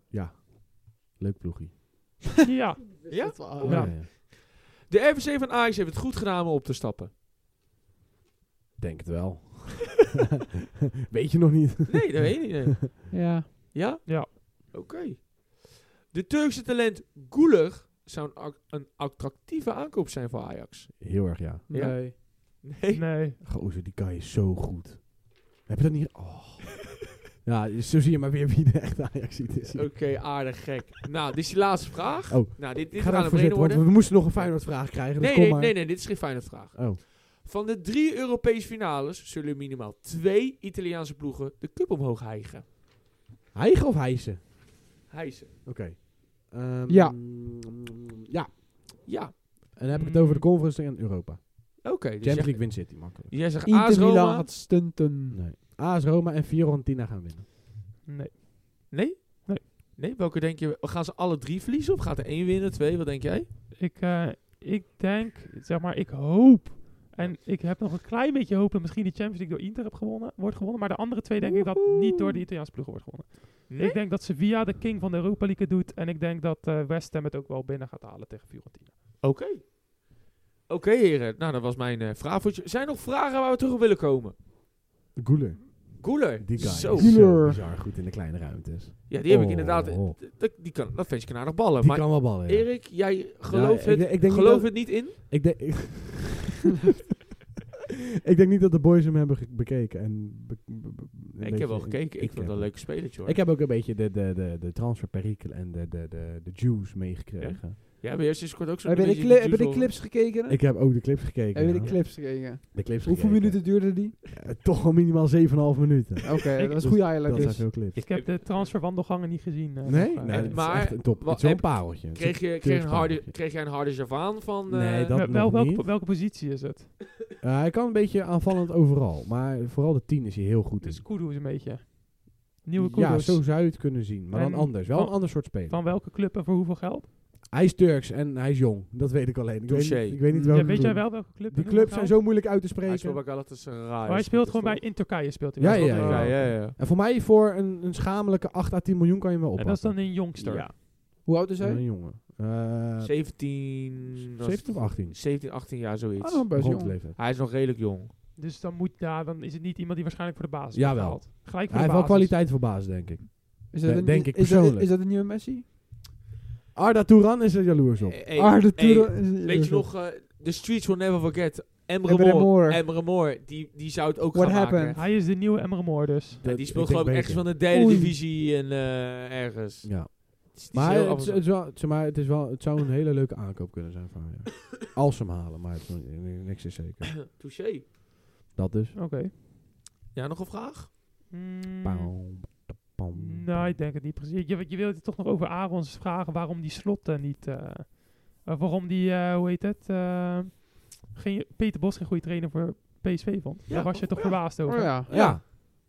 Leuk ploegie.
ja,
Ja?
Oh,
Ja.
De RVC van Ajax heeft het goed gedaan om op te stappen.
Denk het wel. Weet je nog niet.
Nee, dat weet ik niet.
Ja.
Ja?
Ja.
Oké. De Turkse talent Guler zou een, ac- een attractieve aankoop zijn voor Ajax.
Heel erg, ja.
Ja.
Nee.
Nee.
nee.
Gozer, die guy is zo goed. Heb je dat niet... Oh. Ja, zo zie je maar weer wie de echte ajax is.
Oké, aardig gek. nou, dit is die laatste vraag.
Oh.
Nou, dit,
Ik
dit
ga er
gaat
even
een
voor
brede
zitten, want
worden.
we moesten nog een Feyenoord-vraag krijgen. Dus
Nee,
kom
nee,
maar.
nee, nee, dit is geen fijne vraag.
Oh,
Van de drie Europese finales zullen minimaal twee Italiaanse ploegen de cup omhoog hijgen.
hijgen of hijsen?
Hijsen.
Oké. Ehm,
Ja.
Ja.
Ja,
En dan heb ik het over de Conference en Europa.
oké. dus
Champions
jij,
League wint City, makkelijk.
jij zegt AS
Inter Milan
Roma.
gaat stunten.
Nee. AS Roma en Fiorentina gaan winnen.
Nee.
Nee?
Nee.
Nee, welke denk je? Gaan ze alle drie verliezen of gaat er één winnen, twee? Wat denk jij?
Ik, eh, ik denk, zeg maar, ik hoop. En ik heb nog een klein beetje hoop dat misschien de Champions League door Inter heb gewonnen, wordt gewonnen. Maar de andere twee denk ik dat
Woehoe.
niet door de Italiaanse ploegen wordt gewonnen.
Nee?
Ik denk dat Sevilla de king van de Europa League het doet. En ik denk dat eh, West Ham het ook wel binnen gaat halen tegen Fiorentina.
Oké. Oké, heren. Nou, dat was mijn eh vraag. voor je. Zijn er nog vragen waar we terug op willen komen?
Guler.
Cooler.
Die guy
Zo.
is zo
Guler.
bizar goed in de kleine ruimtes.
Ja, die heb ik
Oh.
inderdaad. eh, Dat, die kan, dat ventje kan aardig ballen.
Die
maar
kan wel ballen, ja.
Erik, jij gelooft
Ja,
het,
ik denk- ik denk niet
geloof
dat-
het niet in?
Ik denk... ik denk niet dat de boys hem hebben ge- bekeken. En be- be- be- een
ik
beetje-
heb wel gekeken. Ik,
ik
vond het
heb-
een leuke spelertje hoor.
Ik heb ook een beetje de, de, de, de transferperikelen en de, de, de, de juice meegekregen.
Ja, maar eerst is kort ook zo'n
Heb je de,
beetje
cli- heb je de
doezel.
clips gekeken?
Ik heb ook de clips gekeken.
heb je de
ja.
clips gekeken?
De clips
Hoeveel
gekeken.
minuten duurde die?
Eh, toch al minimaal 7,5 minuten.
Oh,
Oké, dat was
Dus
een goede
dat
highlight
zijn
dus.
veel clips.
Ik heb de transferwandelgangen niet gezien. eh,
nee?
nog, eh,
Nee, dat
maar-
is echt een top.
wa-
Het is wel een
heb-
pareltje. Het is
Kreeg je, kreeg, een harde, kreeg jij een harde javaan van... eh,
Nee, dat-
wel- wel-
nog
welke,
niet.
welke positie is het?
een- Eh, hij kan een beetje aanvallend overal. Maar vooral de 10 is hij heel goed
Dus
in.
Kudu is een beetje. Nieuwe
Ja,
Kudo's.
zo zou je het kunnen zien. Maar dan
En
anders. Wel
van-
een ander soort speler.
Van welke club en voor hoeveel geld?
Hij is Turks en hij is jong. Dat weet ik alleen. Ik weet,
Touché.
niet- ik weet niet
Ja,
welke
Ja, weet
club.
jij wel welke club?
Die
en hoeveel
clubs zijn
geld?
zo moeilijk uit te
Hij speelt
spreken.
bij Galatasaray.
Oh, hij speelt gewoon bij in Turkije speelt hij.
Ja, ja,
wel.
Ja, ja, ja. ja.
En voor mij voor een, een schamelijke 8 à 10 miljoen kan je hem wel
En
oppakken.
dat is dan een jongster.
Ja.
Hoe oud is hij?
Een jongen. Eh,
17... was-
17 of 18?
17, 18 jaar,
Ah,
zoiets.
nog best
Rond
jong.
de leeftijd.
Hij is nog redelijk jong.
Dus dan, moet, ja, dan is het niet iemand die waarschijnlijk voor de basis
Jawel.
wordt gehaald. Gelijk voor
Hij heeft
de
wel
basis.
kwaliteit voor baas, denk ik.
Is
Nee,
een-
denk ik
is dat-
persoonlijk.
Is dat een nieuwe Messi?
Arda Touran is er jaloers op.
Hey,
Arda
hey,
Turan is- is-
Weet je nog, eh, The Streets Will Never Forget. Emre
Emre
Moore.
Moore.
Emre Moore, die, die zou het ook
What
gaan
happened?
maken.
Hij is de nieuwe Emre Moore dus.
Ja,
Dat-
die
ik
speelt
denk
geloof ik ergens
beter.
van de derde
Oei.
divisie en eh, ergens.
Ja.
Het is- het is
Maar,
heel
het,
afgezakt.
het is wel, zeg maar, het, is wel, het zou een hele leuke aankoop kunnen zijn voor hem. ja. Als ze hem halen, maar het is nog- niks is zeker.
Touché.
Dat dus.
Oké.
Ja, nog een vraag?
Mm,
Pam, pam, pam.
nou, ik denk het niet precies. Je, je wilde het toch nog over Arons vragen waarom die slot eh, niet... eh, eh, waarom die, eh, hoe heet het... eh, geen, Peter Bos geen goede trainer voor PSV vond.
Ja,
Daar was je toch
ja.
verbaasd
Oh
over.
ja.
Ja,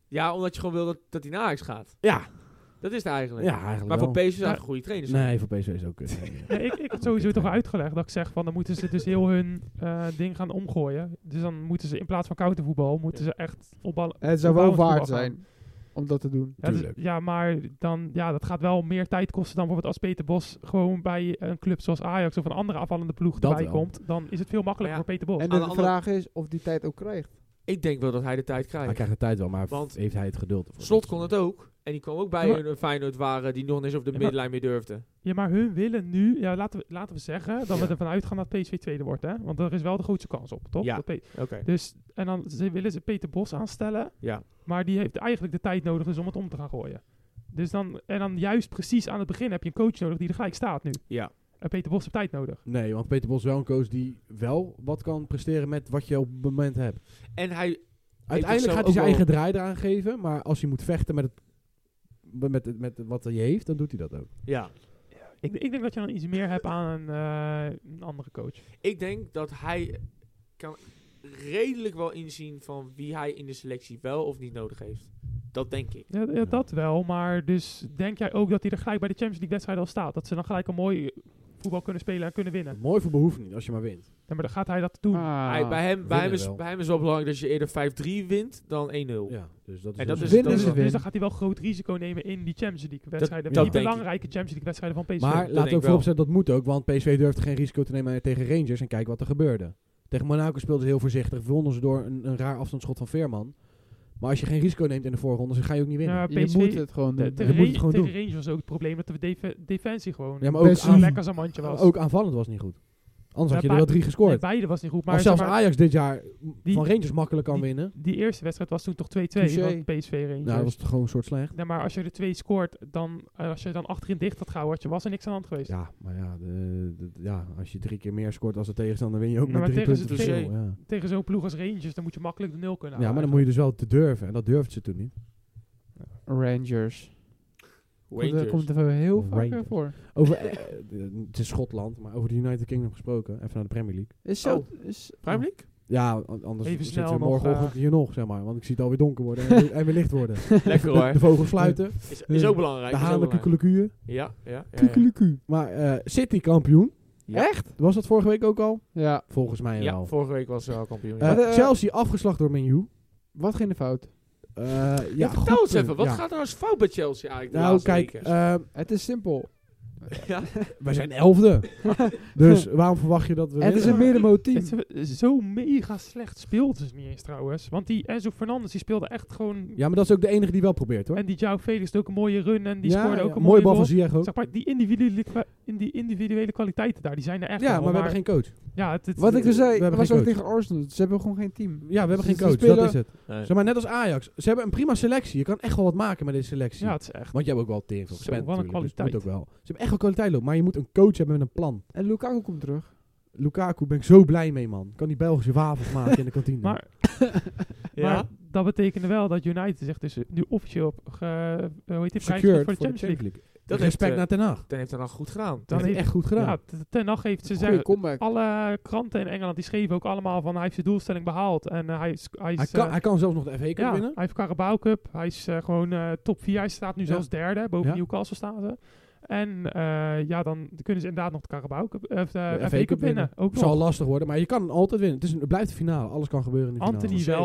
Ja, omdat je gewoon wil dat, dat hij naar Ajax gaat.
Ja.
Dat is het eigenlijk.
ja, eigenlijk
maar
wel.
voor PSV is eigenlijk een goede trainer. zo.
Nee, voor PSV is het ook kut.
Nee, ik, ik had sowieso toch uitgelegd dat ik zeg van dan moeten ze dus heel hun eh, ding gaan omgooien. Dus dan moeten ze in plaats van countervoetbal moeten
Ja.
ze echt opballen.
Het zou wel
opbouwend
waard
voetbal gaan.
zijn om dat te doen.
Ja, dus-
Tuurlijk.
ja, maar dan, ja, dat gaat wel meer tijd kosten dan bijvoorbeeld als Peter Bos gewoon bij een club zoals Ajax of een andere afvallende ploeg
Dat
erbij
wel.
komt. Dan is het veel makkelijker
Maar
voor Peter Bos.
En
Aan
de
de andere-
vraag is of die tijd ook krijgt.
Ik denk wel dat hij de tijd krijgt.
Hij krijgt de tijd wel, maar
Want
heeft hij het geduld? ervoor?
Slot kon het ook. En die kwam ook bij
Ja, maar-
een Feyenoord waren die nog niet eens op de
Ja, maar-
midlijn meer durfde.
Ja, maar hun willen nu, ja, laten, we, laten we zeggen dat
Ja.
we ervan uitgaan dat PSV tweede wordt. Hè? Want er is wel de grootste kans op, toch?
Ja.
Dat P-
Oké.
dus, en dan ze willen ze Peter Bos aanstellen.
Ja.
Maar die heeft eigenlijk de tijd nodig dus om het om te gaan gooien. Dus dan, en dan juist precies aan het begin heb je een coach nodig die er gelijk staat nu.
Ja.
En Peter Bos heeft tijd nodig.
Nee, want Peter Bos is wel een coach die wel wat kan presteren met wat je op het moment hebt.
En hij...
Uiteindelijk
zou
gaat hij zijn
ook
eigen draai eraan geven, maar als hij moet vechten met, het, met, het, met wat hij heeft, dan doet hij dat ook.
Ja.
Ik, ik denk dat je dan iets meer hebt aan een, eh, een andere coach.
Ik denk dat hij kan redelijk wel inzien van wie hij in de selectie wel of niet nodig heeft. Dat denk ik.
Ja, d- ja, dat wel, maar dus denk jij ook dat hij er gelijk bij de Champions League wedstrijd al staat? Dat ze dan gelijk een mooi voetbal kunnen spelen en kunnen winnen.
Mooi voor behoeft niet, als je maar wint.
Ja, maar dan gaat hij dat doen.
Ah,
Hij, bij, hem, bij,
Ah, winnen
hem is,
wel.
bij hem is wel belangrijk dat je eerder 5-3 wint dan 1-0.
Ja, dus dat is,
En dat is-
wel zo.
dat
Winnen is
is-
Dus dan
winnen.
gaat hij wel groot risico nemen in die Champions League wedstrijden.
dat
die
denk ik.
belangrijke Champions League wedstrijden van PSV.
Maar laat
denk
ook
ik wel.
vooropzetten, dat moet ook, want PSV durfde geen risico te nemen tegen Rangers en kijk wat er gebeurde. Tegen Monaco speelden ze heel voorzichtig, wonnen ze door een, een raar afstandsschot van Veerman. Maar als je geen risico neemt in de voorronde, dan ga je ook niet winnen.
Ja,
Ja,
Je
PSV
moet het gewoon
De,
doen.
tegen
moet het
Ran-
gewoon
tegen
doen.
Rangers was ook het probleem dat de def- defensie gewoon
maar ook,
Best
aan-
lekker zijn mandje was.
ook aanvallend was niet goed. Anders had
Ja,
je er wel
bij-
drie
Nee,
gescoord.
beide was niet goed. Maar,
of zelfs
zeg maar,
Ajax dit jaar
die-
van Rangers makkelijk kan
die-
winnen.
die eerste wedstrijd was toen toch 2-2
Touché.
van PSV Rangers.
Nou, dat was toch gewoon een soort slecht.
Ja, maar als je er twee scoort, dan, eh, als je dan achterin dicht had gehouden, had je- was er niks aan de hand geweest.
Ja, maar ja, de- de- ja, als je drie keer meer scoort als de tegenstander, win je ook
Ja,
met
maar
drie
tegen Nou,
punten
ze
verschil.
tegen-
Ja.
Tegen zo'n ploeg als Rangers, dan moet je makkelijk de nul kunnen
ja, maar dan moet je dus wel te durven. En dat durfde ze toen niet.
Rangers.
eh,
Komt,
Rangers.
er, komt er heel vaak
Rangers.
voor.
Over, eh, eh, het is Schotland, maar over de United Kingdom gesproken. Even naar de Premier League.
Is
Oh.
zo. Is,
Prime League?
Ja, an- anders
Even
zitten we
snel nog,
morgenochtend
eh,
hier nog, zeg maar. Want ik zie het alweer donker worden en, weer- en weer licht worden.
Lekker hoor.
De vogels fluiten,
Is, is ook belangrijk.
eh, de
is ook
hanen
belangrijk.
kukelekuien.
Ja, ja. ja, ja.
Kukeluku.
Maar eh, City kampioen.
Ja.
Echt? Was dat vorige week ook al?
Ja,
Volgens mij
Ja,
wel.
vorige week was ze al kampioen.
Eh,
ja.
Maar de-
Chelsea afgeslacht door Menu.
wat ging de fout?
ja,
Vertel
goed
eens even,
punt,
wat
ja.
gaat er nou eens fout bij Chelsea eigenlijk de
Nou,
laatste
kijk,
weken?
eh,
Het is simpel.
ja.
wij zijn elfde. dus waarom verwacht je dat we
Het is
winnen?
een middenmoot team.
Het is zo mega slecht speelt het niet eens trouwens. Want die Enzo Fernandes die speelde echt gewoon...
Ja, maar dat is ook de enige die wel probeert, hoor.
En die João Felix deed ook een mooie run en die
ja,
scoorde ook
ja, mooie
een mooie
bal
goal.
van Ziyech ook.
Zeg maar, die individuele, kwa- in die individuele kwaliteiten daar, die zijn er echt
Ja,
wel,
maar we hebben geen coach.
Ja, het, het-
Wat ik dus
we
zei,
hebben
was
geen
ook
coach.
tegen Arsenal. Ze hebben gewoon geen team.
Ja, we hebben
Ze-
geen
ze
coach, dat
spelen-
is het.
Nee.
Dus Zeg maar, net als Ajax. Ze hebben een prima selectie. Je kan echt wel wat maken met deze selectie.
ja, het is echt...
Want jij hebt ook wel tering van
Zo,
gespeeld
wat een
natuurlijk, dus dat
kwaliteit.
moet ook wel. Ze hebben echt wel kwaliteit lopen, maar je moet een coach hebben met een plan.
En Lukaku komt terug.
Lukaku ben ik zo blij mee, man. Kan die Belgische wafels maken in de kantine.
Maar Maar dat betekende wel dat United zich dus nu officieel op ge, eh, hoe heet dit,
Secured
vrijgesteld voor de Champions League.
dat heeft,
Respect
eh,
naar Ten Hag.
Ten heeft dat nog goed gedaan.
Dan
Dat heeft
heeft,
hij echt goed gedaan.
ja, t- Ten Hag heeft ze
Goeie
zeggen,
comeback.
alle kranten in Engeland die schreven ook allemaal van hij heeft zijn doelstelling behaald en eh, hij is, hij is
hij, kan,
eh,
hij kan zelfs nog de FA Cup
ja,
winnen.
hij heeft Carabao Cup, hij is eh, gewoon eh, top 4, hij staat nu
Ja.
zelfs derde boven
Ja.
Newcastle staat ze. En eh, ja, dan kunnen ze inderdaad nog de Carabao Cup, eh, of de,
De
FA Cup winnen. Ook
zal
nog.
lastig worden, maar je kan altijd winnen. Het, is een, het blijft de finale. Alles kan gebeuren in de
Anthony
finale.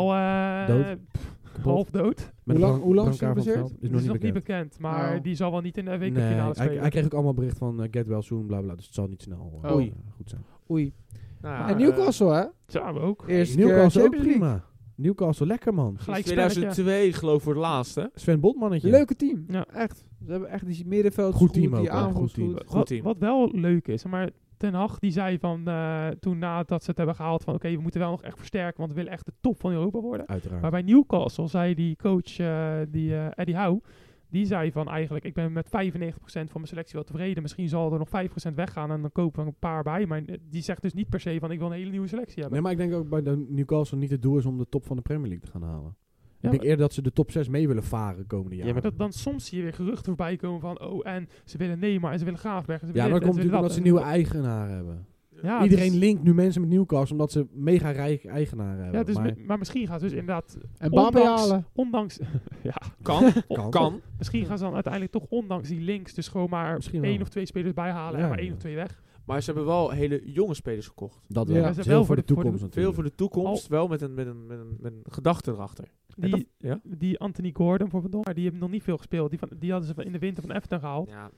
wel eh,
Dood.
pff, half dood.
Met
Hoe lang-
een
hoe lang
brancard
is hij
van het
geblesseerd?
veld.
Is
Is nog
is
niet
nog niet
bekend.
bekend, maar
Oh.
die zal wel niet in de FA Cup
Nee,
finale
hij,
spelen.
hij kreeg ook allemaal bericht van eh, get well soon, bla bla. bla. Dus het zal niet snel eh,
Oh.
eh, goed zijn.
Oei.
Nou ja,
en Newcastle, hè?
Ja, we ook.
Eerst
Newcastle ook prima. Newcastle lekker, man.
eh,
Gelijk
sinds 2002 geloof ik voor het laatste.
Sven Botmannetje.
Leuke team.
Ja.
Echt. Ze hebben echt die middenveld.
Goed team ook,
die
hoor.
aanval
Goed
is
team.
goed.
Goed
Wat,
team.
wat wel leuk is, maar Ten Hag die zei van eh, toen nadat ze het hebben gehaald van oké, we moeten wel nog echt versterken, want we willen echt de top van Europa worden.
Uiteraard.
Maar bij Newcastle zei die coach, eh, die eh, Eddie Howe, die zei van eigenlijk ik ben met 95% van mijn selectie wel tevreden. Misschien zal er nog 5% weggaan en dan kopen we een paar bij. Maar eh, die zegt dus niet per se van ik wil een hele nieuwe selectie hebben.
Nee, maar ik denk ook bij de Newcastle niet het doel is om de top van de Premier League te gaan halen. ik denk
maar-
eerder dat ze de top 6 mee willen varen komende jaren.
Ja, maar dat, dan soms zie je weer geruchten voorbij komen van oh en ze willen Neymar en ze willen Graafberg. en
Ja,
ze willen
maar dat
dit en
komt natuurlijk omdat ze
willen
nieuwe
dat.
eigenaren hebben.
En- ja,
Iedereen
dus-
linkt nu mensen met Newcastle omdat ze mega rijke eigenaren hebben.
ja, dus
maar
mi- maar misschien gaat dus inderdaad
En Babel
Ondanks-
halen.
ondanks, ja,
Kan,
Kan.
kan.
misschien gaan ze dan uiteindelijk toch ondanks die links dus gewoon maar
Misschien wel.
één of twee spelers bijhalen
Ja,
en maar één
ja.
of twee weg.
Maar ze hebben wel hele jonge spelers gekocht.
dat
Ja,
wel.
ze
Het is
wel
heel voor
voor
de
de- voor de-
toekomst
Veel
natuurlijk.
voor de toekomst, wel met een, met een, met een, met een gedachte erachter.
Die,
Ja?
die Anthony Gordon bijvoorbeeld, maar die hebben nog niet veel gespeeld. Die, van, die hadden ze van in de winter van Efton gehaald.
Ja.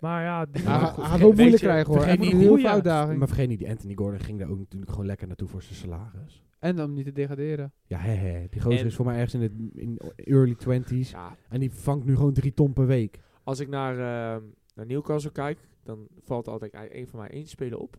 Maar ja, die,
Ja,
goed,
hij
vergeet-
gaat ook
weet
moeilijk
je,
krijgen hoor. Hij
vergeet
moet
niet-
heel
Goeie.
veel uitdaging.
Maar vergeet niet, die Anthony Gordon ging daar ook natuurlijk gewoon lekker naartoe voor zijn salaris.
En om niet te degraderen.
Ja, hè, hè. Die gozer
En-
is voor mij ergens in de in early 20s.
Ja,
En die vangt nu gewoon drie ton per week.
als ik naar, ehm, naar Newcastle kijk, dan valt altijd e- een van mij één speler op.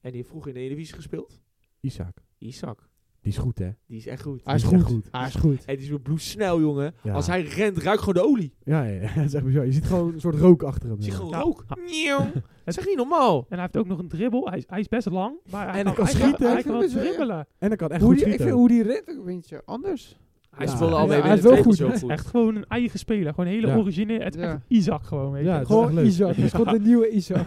En die heeft vroeg in de Eredivisie gespeeld.
Isaac.
Isaac.
Die is goed, hè?
Die is echt goed.
Hij is
Die echt
goed.
goed.
Hij is goed.
Hij is weer bloedsnel, jongen.
Ja.
Als hij rent, ruikt gewoon de olie.
Ja, ja, ja. dat is echt bizar. Je ziet gewoon een soort rook achter hem.
Zie gewoon
Ja.
rook.
Ja.
Nieuw. Dat is echt niet normaal.
en hij heeft ook nog een dribbel. Hij is, hij is best lang, maar hij
En
kan,
hij kan
hij
schieten.
Hij,
Ik
kan
vind
ook
het wel-
dribbelen.
En hij kan echt
Hoe
goed
die, ik
schieten.
vind hoe die redt ook een beetje anders.
Hij
Ja.
speelde
Ja,
alweer
hij
in
is
de
wel
tweede
goed.
zo goed.
Echt gewoon een eigen speler. Gewoon een hele
Ja.
originele. Het is
Ja.
echt Isaac gewoon. Weet je.
Ja, het is echt
Gewoon
leuk.
Isaac. Er komt een nieuwe Isaac.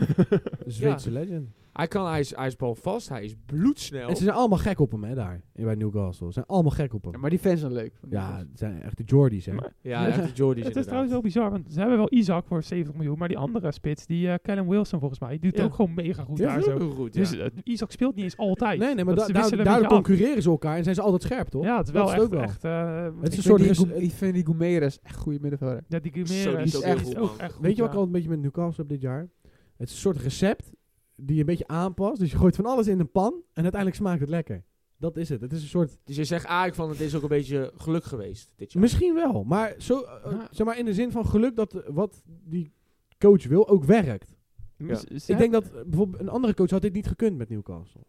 Zweedse legend.
Hij, kan, hij, is, hij is balvast, hij is bloedsnel.
En ze zijn allemaal gek op hem, hè, daar. Bij Newcastle. Ze zijn allemaal gek op hem.
Ja,
Ja,
maar die fans zijn leuk. van die fans.
het zijn echt de Jordies, hè.
Maar-
ja, echt de Jordi's
het is
inderdaad.
trouwens wel bizar, want ze hebben wel Isaac voor 70 miljoen, maar die andere spits, die eh Callum Wilson volgens mij, die doet
Ja.
ook gewoon mega goed
Ja,
daar
Dat is
zo.
ook heel goed, ja.
Dus eh, Isaac speelt niet eens altijd.
Nee, nee, maar
Dat
da
ze
daar-
wisselen een
daardoor
beetje af.
concurreren ze elkaar en zijn ze altijd scherp, toch?
Ja, het is wel
Dat is
echt...
ook wel.
echt eh,
Het is
Ik
een
vind
soort...
die
res-
Gu- Ik vind die Gumeres echt goede middenvelder.
ja, die
Zo, die
Guimera
is
is,
ook
echt,
heel
is
goed,
ook
man.
echt goed.
Weet je wat ik
ja.
al een beetje met Newcastle heb dit jaar? Het is een soort recept die je een beetje aanpast. Dus je gooit van alles in een pan en uiteindelijk smaakt het lekker. Dat is het. Het is een soort...
Dus je zegt eigenlijk van, het is ook een beetje geluk geweest dit jaar.
Misschien wel, maar, zo, eh, eh,
Ja.
zeg maar in de zin van geluk dat eh, wat die coach wil ook werkt.
Dus
Ja.
Ze- ze
Ik denk dat eh, bijvoorbeeld een andere coach had dit niet gekund met Newcastle.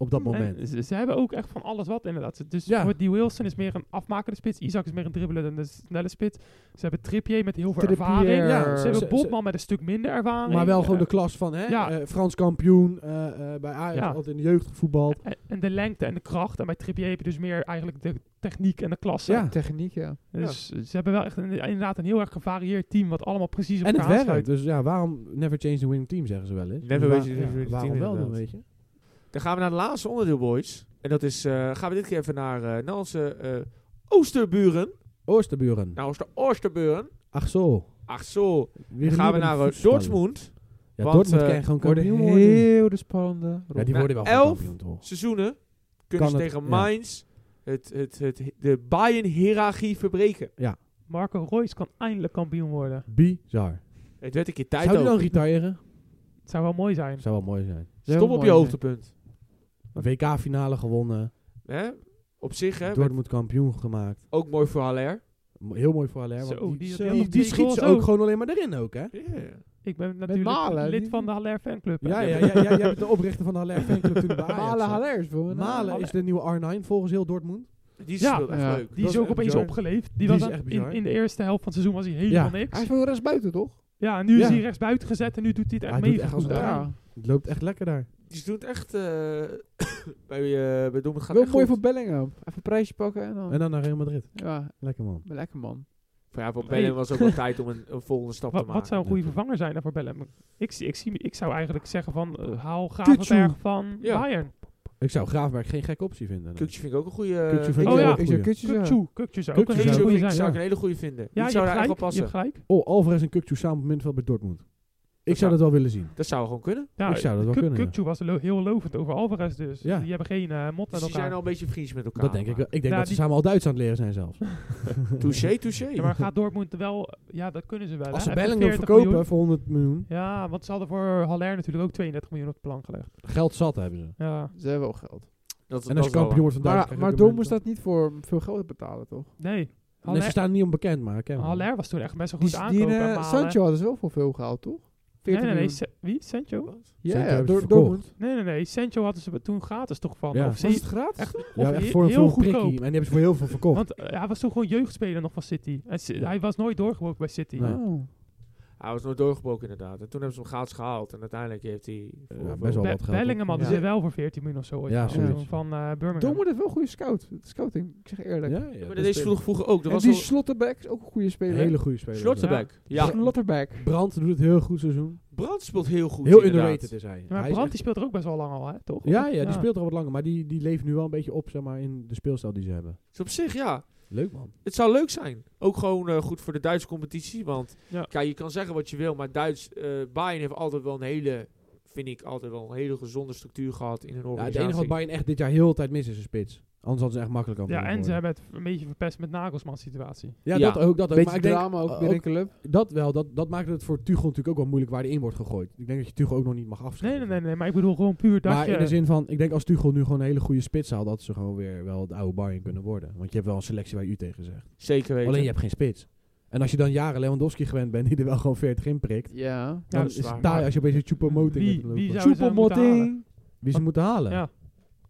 Op dat
Nee,
moment.
ze, ze hebben ook echt van alles wat inderdaad. Ze- Dus
Ja.
voor die Wilson is meer een afmakende spits. Isaac is meer een dribbelende snelle spits. Ze hebben Trippier met heel veel
Trippier.
ervaring.
Ja,
Ze
ze-
hebben Bobman met een stuk minder ervaring.
Maar wel
Ja.
gewoon de klas van, hè?
Ja.
eh, Frans kampioen, eh, eh, bij Ajax
Ja.
altijd in de jeugd gevoetbald.
En, en de lengte en de kracht. En bij Trippier heb je dus meer eigenlijk de techniek en de klasse.
Ja.
Techniek, ja.
Dus ze hebben wel echt een, inderdaad een heel erg gevarieerd team. Wat allemaal precies op
En het
elkaar
werkt.
aansluit.
Dus ja, waarom never change the winning team, zeggen ze wel eens.
Never
Wa-
change the
ja,
winning
Waarom
team,
wel dan,
inderdaad.
weet je?
Dan gaan we naar het laatste onderdeel, boys. En dat is, eh, gaan we dit keer even naar, eh, naar onze eh, Oosterburen.
Oosterburen.
Naar onze Oosterburen.
Ach zo.
Ach zo.
Weer
Dan gaan we
een
naar
nieuwe
eh,
voetballer.
Dortmund.
Ja,
want,
Dortmund
eh,
kan gewoon
Worden
kampioen worden.
heel de spannende.
Ja, die
Na
worden wel
elf-
gewoon kampioen, toch?
Seizoenen kunnen
Kan
ze
het,
tegen
ja.
Mainz het, het, het, de Bayern-hierarchie verbreken.
Marco Royce kan eindelijk kampioen worden.
Bizar.
Het werd een keer tijd
Zou die dan
ook.
retireren?
Het zou wel mooi zijn.
Zou wel mooi zijn.
Zou
Stop
mooi
op je
zijn.
hoogtepunt.
WK-finale gewonnen.
Hè? Op zich, hè, werd
Dortmund kampioen gemaakt.
ook mooi voor Haller.
Mo- Heel mooi voor Haller.
Zo,
Want die,
die-
die,
die-
die
die
schiet ze
goals
ook
ook.
gewoon alleen maar erin ook, hè?
Ik ben natuurlijk
Malen,
lid
die-
van de Haller fanclub. hè.
Ja, ja, ja, ja, jij bent de oprichter van de Haller fanclub toen bij Ajax
Malen
zat.
Hallers, bro.
Malen is de nieuwe R9 volgens heel Dortmund.
Die is
Ja.
speelt echt
Ja.
leuk.
Die
Dat
is
is
ook
echt
opeens
bizar.
opgeleefd. Die,
Die is
was aan-
echt
in,
bizar.
in de eerste helft van het seizoen was hij helemaal
Ja.
niks.
Hij is wel rechts buiten, toch?
Ja, en nu is
Ja.
hij rechtsbuiten gezet en nu doet hij het echt
Hij doet
mega
echt als
goed.
een
hè.
trein. Het loopt echt lekker daar.
Die doet echt... eh, bij, eh bij Dortmund gaat
Wel
het echt goed.
mooi voor Bellingham. Even een prijsje pakken en
Oh.
dan...
En dan naar Real Madrid.
Ja,
Lekker man.
lekker man.
Voor, ja, voor
Hey.
Bellingham was ook wel tijd om een, een volgende stap
Wat,
te maken.
wat zou een goede vervanger zijn daarvoor Bellem? Ik, zie- ik, zie, ik zou eigenlijk zeggen van eh, haal
Kukçu.
Gravenberg van
Ja.
Bayern.
Ik zou Graafberg geen gekke optie vinden. dan.
Kukje vind ik ook een goede...
Kukçu vind
ik Oh, ja.
Ik zou
Goeie.
kutjes zeggen.
Kukçu. Kukçu zou ook een
Kukçu
hele
zou-
goede
ik
zijn.
zou ik
ja.
een hele goede vinden.
Ja,
die
je
zou
hebt
daar echt wel
gelijk. Je
passen.
hebt
Oh,
gelijk.
Alvarez en Kukcu samen op het middenveld bij Dortmund. Ik zou dat wel willen zien.
Dat zou gewoon kunnen.
Ja,
Ik zou dat wel
Kuk-
kunnen, ja.
Kukçu was lo- heel lovend over Alvarez dus.
Ja.
Die hebben geen eh
Dus
mot met
die zijn
elkaar.
al een beetje vriends met elkaar.
Dat denk ik wel. Ik denk
Ja,
dat ze
die-
samen al Duits aan het leren zijn zelfs.
Touché, touché.
Ja, maar gaat Dortmund wel... Ja, dat kunnen ze wel.
Als
hè.
ze
Even
Bellingham
40
verkopen
miljoen.
voor 100 miljoen.
Ja, want ze hadden voor Haller natuurlijk ook 32 miljoen op het plan gelegd.
Geld zat hebben ze.
Ja.
Ze hebben wel
Dat,
geld.
En
dat is
als je
wel
kampioen wordt van Duitsland...
Maar, maar Dortmund staat niet voor veel geld betalen, toch?
Nee.
Nee, ze
Haller,
staan niet onbekend, maar ik ken hem.
Haller was toen echt best wel
Die,
goed
die
aankopen.
eh,
Malen.
Sancho hadden ze wel voor veel gehaald, toch? 40
Nee, nee, nee.
miljoen.
Sa- Wie? Sancho?
Ja,
Sancho
ja,
hebben ze
door
verkocht.
Dortmund.
Nee, nee, nee. Sancho hadden ze toen gratis toch van.
Ja.
Of ze-
Was het gratis? Oh.
echt, of
Ja, echt
he-
voor, een-
heel
voor een prikkie.
goedkoop.
En die hebben ze voor heel veel verkocht.
Want eh, hij was toen gewoon jeugdspeler nog van City. En Ci-
Ja.
Hij was nooit doorgebroken bij City.
Nee.
Oh.
Hij was nooit doorgebroken inderdaad. En toen hebben ze hem gratis gehaald. En uiteindelijk heeft hij...
Eh,
voor-
best wel
Be-
wat geld.
Bellingham hadden
Ja.
ze wel voor 14 miljoen of zo. ooit
Ja,
gehaald,
zoiets.
toen Van eh Birmingham.
Dortmund heeft wel goede scout. Scouting, ik zeg
Ja,
eerlijk.
ja,
Ja,
dat
maar
is
deze
de-
vroeg vroeg ook. Dat
en
was
die
al
Slotterback is ook een goede
een
speler.
hele goede speler.
Slotterbeck. Ja.
Slotterback.
Brand doet het heel goed seizoen.
Brand speelt heel goed
heel
inderdaad.
underrated is hij.
Maar
Hij is
Brandt
echt-
die speelt er ook best wel lang al, hè, toch?
ja, ja, die speelt er al wat langer. Maar die, die leeft nu wel een beetje op zeg maar, in de speelstijl die ze hebben.
Dus op zich, ja.
Leuk man.
Het zou leuk zijn. Ook gewoon eh, goed voor de Duitse competitie. Want
Ja.
kijk, je kan zeggen wat je wil. Maar Duits, eh Bayern heeft altijd wel een hele... Vind ik altijd wel een hele gezonde structuur gehad in een
Ja, het
organisatie.
enige wat Bayern echt dit jaar heel de tijd mis is een spits. Anders hadden ze echt makkelijk aan
Ja, en ze hebben het een beetje verpest met Nagelsmans situatie.
Ja,
Ja.
dat ook. Dat ook.
Beetje
Maar ik denk
drama ook
ook-
binnen een club.
dat wel. Dat, dat maakt het voor Tuchel natuurlijk ook wel moeilijk waar hij in wordt gegooid. Ik denk dat je Tuchel ook nog niet mag
Nee,
afschrijven.
nee, nee, nee. Maar ik bedoel gewoon puur dat
maar
je...
in de zin van, ik denk als Tuchel nu gewoon een hele goede spits haalt, dat ze gewoon weer wel het oude Bayern kunnen worden. Want je hebt wel een selectie waar u tegen zegt.
Zeker weten.
Alleen je hebt geen spits. En als je dan jaren Lewandowski gewend bent, die er wel gewoon 40 in prikt.
Ja.
Ja,
Dan
dat
is
is
waar.
het taai als je opeens een Choupo-Moting
Wie-
hebt lopen.
wie zou- zouden ze
Soepel
moeten
Motting.
Wie ze moeten halen?
Ja.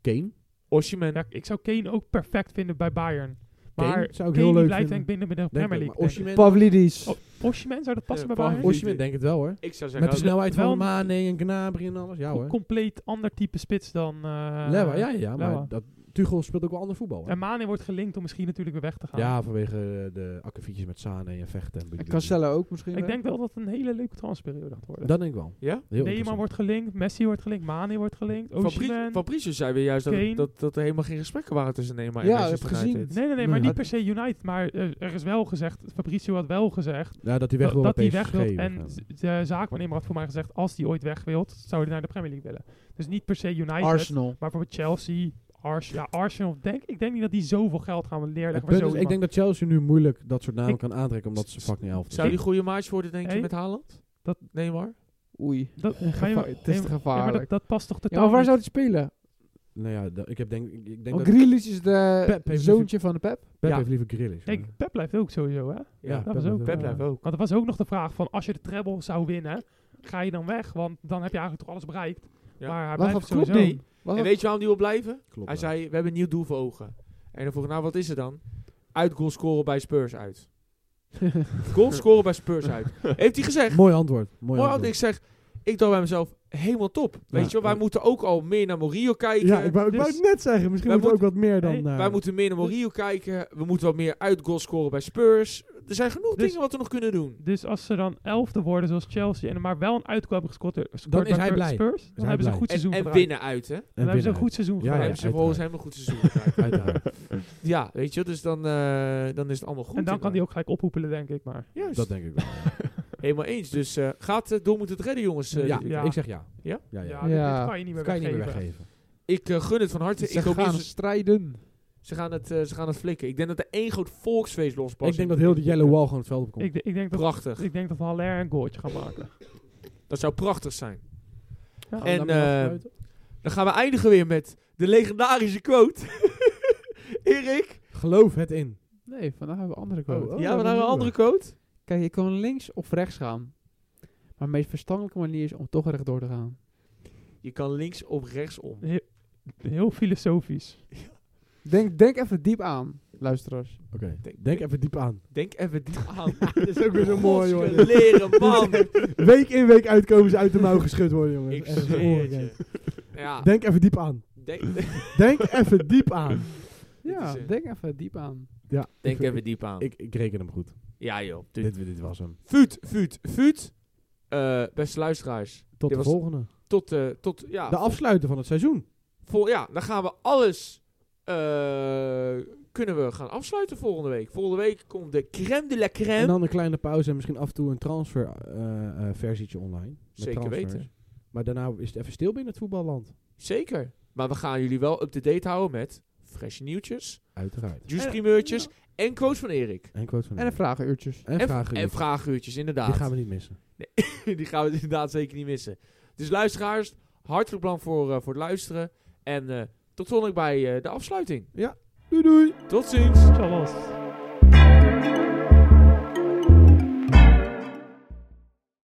Kane?
Osimhen.
Ja, ik zou Kane ook perfect vinden bij Bayern. Maar
Kane
Kane,
zou ik heel leuk
blijft denk
vinden.
ik binnen bij de Premier League. denk ik.
Pavlidis.
Oh, Osimhen, zou dat passen
Ja,
bij Bayern?
Pavlidis.
Osimhen denk het wel hoor.
Ik zou zeggen... nou,
Met de
als-
snelheid
wel-
van Mane en Gnabry en alles. Ja
Co-
hoor.
compleet ander type spits dan... eh,
Lewa, ja, ja,
Lewa.
maar dat, Tuchel speelt ook wel ander voetbal. Hoor.
En Mane wordt gelinkt om misschien natuurlijk weer weg te gaan.
Ja, vanwege eh, de akkefietjes met Sane en vechten. En
En
bedoeling.
Cancelo ook misschien.
Ik denk wel dat het een hele leuke transperiode gaat worden.
Dat denk ik wel.
Ja?
Heel
Neymar
interessant.
wordt gelinkt, Messi wordt gelinkt, Mane wordt gelinkt,
Fabri-
Osimhen.
Fabrice zei weer juist dat,
Kane.
dat, dat er helemaal geen gesprekken waren tussen Neymar en
Ja,
Manchester
heb gezien.
United.
Nee, nee, nee,
Nee.
maar niet per se United. Maar eh, er is wel gezegd, Fabrizio had wel gezegd
Ja, dat hij weg
dat-
wil
dat
bij
hij
PSG
weg wil. En
gaan.
z- de zaakwaarnemer had voor mij gezegd, als hij ooit weg wilt, zou hij naar de Premier League willen. Dus niet per se United,
Arsenal.
maar bijvoorbeeld Chelsea, Ars ja, Arsenal. Denk, ik denk niet dat die zoveel geld gaan
Het
neerleggen.
punt
voor
is,
zo
ik denk dat Chelsea nu moeilijk dat soort namen
Ik-
kan aantrekken omdat ze fucking elf
Zou
zijn.
die goede match worden, denk je,
Hey?
met Haaland?
Dat-
Neymar?
Oei.
dat, ga je
Gevaar-
maar-
Het is te
nee, ja, maar dat,
gevaarlijk.
dat past toch
Ja,
totaal
maar waar
niet.
zou hij spelen?
Nou ja, da- ik heb denk ik- ik denk
Want
dat
Grealish is de
Pep heeft
zoontje van de Pep.
Pep
Ja.
heeft liever Grealish. hoor.
Kijk, Pep blijft ook sowieso, hè?
Ja,
dat was ook,
Pep
Ja.
blijft ook.
Want er was ook nog de vraag van, als je de treble zou winnen, ga je dan weg? Want dan heb je eigenlijk toch alles bereikt.
Ja.
Maar hij
Wacht,
blijft
dat klopt
sowieso.
niet. Wat?
En weet je waarom die wil blijven?
Klopt.
Hij
ja.
zei, we hebben een nieuw doel voor ogen. En dan vroeg ik, nou wat is er dan? Uit goal scoren bij Spurs uit. goal scoren bij Spurs uit. Heeft hij gezegd.
Mooi antwoord. Mooi
Maar ik
antwoord.
zeg, ik dacht bij mezelf, helemaal top. Weet je wel, wij
Ja.
moeten ook al meer naar Morio kijken.
Ja, ik wou, ik wou
Dus-
het net zeggen. Misschien
Wij
moeten we ook wat meer dan...
Nee,
eh,
Wij moeten meer naar Morio kijken. We moeten wat meer uit goal scoren bij Spurs. Er zijn genoeg
Dus-
dingen wat we nog kunnen doen.
Dus als ze dan elfde worden zoals Chelsea en er maar wel een uitkoop hebben gescoord door- gescoord
Dan is
bij
hij blij.
Spurs, dan
hij
hebben ze
blij.
een goed
En,
seizoen
en
gedraaid.
winnen uit, hè?
Dan
en
hebben ze een
winnen.
goed seizoen
Ja,
Dan
gedraaid.
hebben ze
uiteraard.
volgens hem een goed seizoen. gedraaid.
Uiteraard.
ja, weet je, dus dan, eh, dan is het allemaal goed.
En dan kan hij ook gelijk ophoepelen, denk ik. Maar
Juist.
Dat denk ik wel.
Helemaal eens. Dus eh, gaat het Dortmund het redden, jongens? eh,
ja,
dit-
ja.
ik zeg ja.
Ja?
Ja, ja.
ja, dit-
Ja.
dit kan je niet meer
Dat kan je niet meer
weggeven.
weggeven.
Ik eh, gun het van harte.
Ze
ik hoop niet
gaan
dat ze,
strijden.
ze gaan het, eh, ze gaan het flikken. Ik denk dat er één groot volksfeest losbarst.
Ik denk dat heel de Yellow Wall gewoon het veld op komt.
Ik, ik denk dat,
Prachtig.
ik denk dat Haller een goaltje gaat maken.
Dat zou prachtig zijn.
Oh,
Ja.
En, eh, Dan gaan we eindigen weer met de legendarische quote. Erik?
Geloof het in.
Nee, vandaag hebben we andere quote.
Oh, oh.
eh, ja,
dat
we
is
naar een
een
andere quote.
Kijk, je kan links of rechts gaan. Maar de meest verstandelijke manier is om toch rechtdoor te gaan.
Je kan links of rechts om.
Heel, heel filosofisch.
Denk, denk even diep aan, luisteraars.
Oké, denk even diep aan.
Denk even diep aan.
Dit is ook weer zo mooi, hoor.
Leren, man.
Week in week uit komen ze uit de mouw geschud worden, jongens.
Ik
Echt, dat is
zweer het
ongekend.
je. Ja,
Denk even diep aan.
denk,
Denk even diep aan.
Ja,
is, eh,
denk even diep aan.
Ja,
denk
ik-
even diep aan.
Ik, ik reken hem goed.
ja, joh.
Dit, dit was hem.
Fuut, fuut, fuut. Eh, beste luisteraars.
Tot
Dit
de
was-
volgende.
Tot, eh, tot, ja,
De afsluiter van het seizoen.
Vol, ja, dan gaan we alles eh, kunnen we gaan afsluiten volgende week. Volgende week komt de crème de la crème.
En dan een kleine pauze en misschien af en toe een transferversietje online. Met
Zeker
transfers.
weten.
Maar daarna is het even stil binnen het voetballand.
Zeker. Maar we gaan jullie wel up-to-date houden met fresh nieuwtjes,
Uiteraard.
juice
En-
primeurtjes en quotes van Erik.
En quote van
En de
Erik.
vragenuurtjes.
en, vragen.
En
Jut.
vraaguurtjes, inderdaad.
Die gaan we niet missen.
Die gaan we inderdaad zeker niet missen. Dus luisteraars, hartelijk bedankt voor, eh, voor het luisteren. En eh, tot zondag bij eh, de afsluiting.
Doei doei.
Tot ziens!
Tjallas.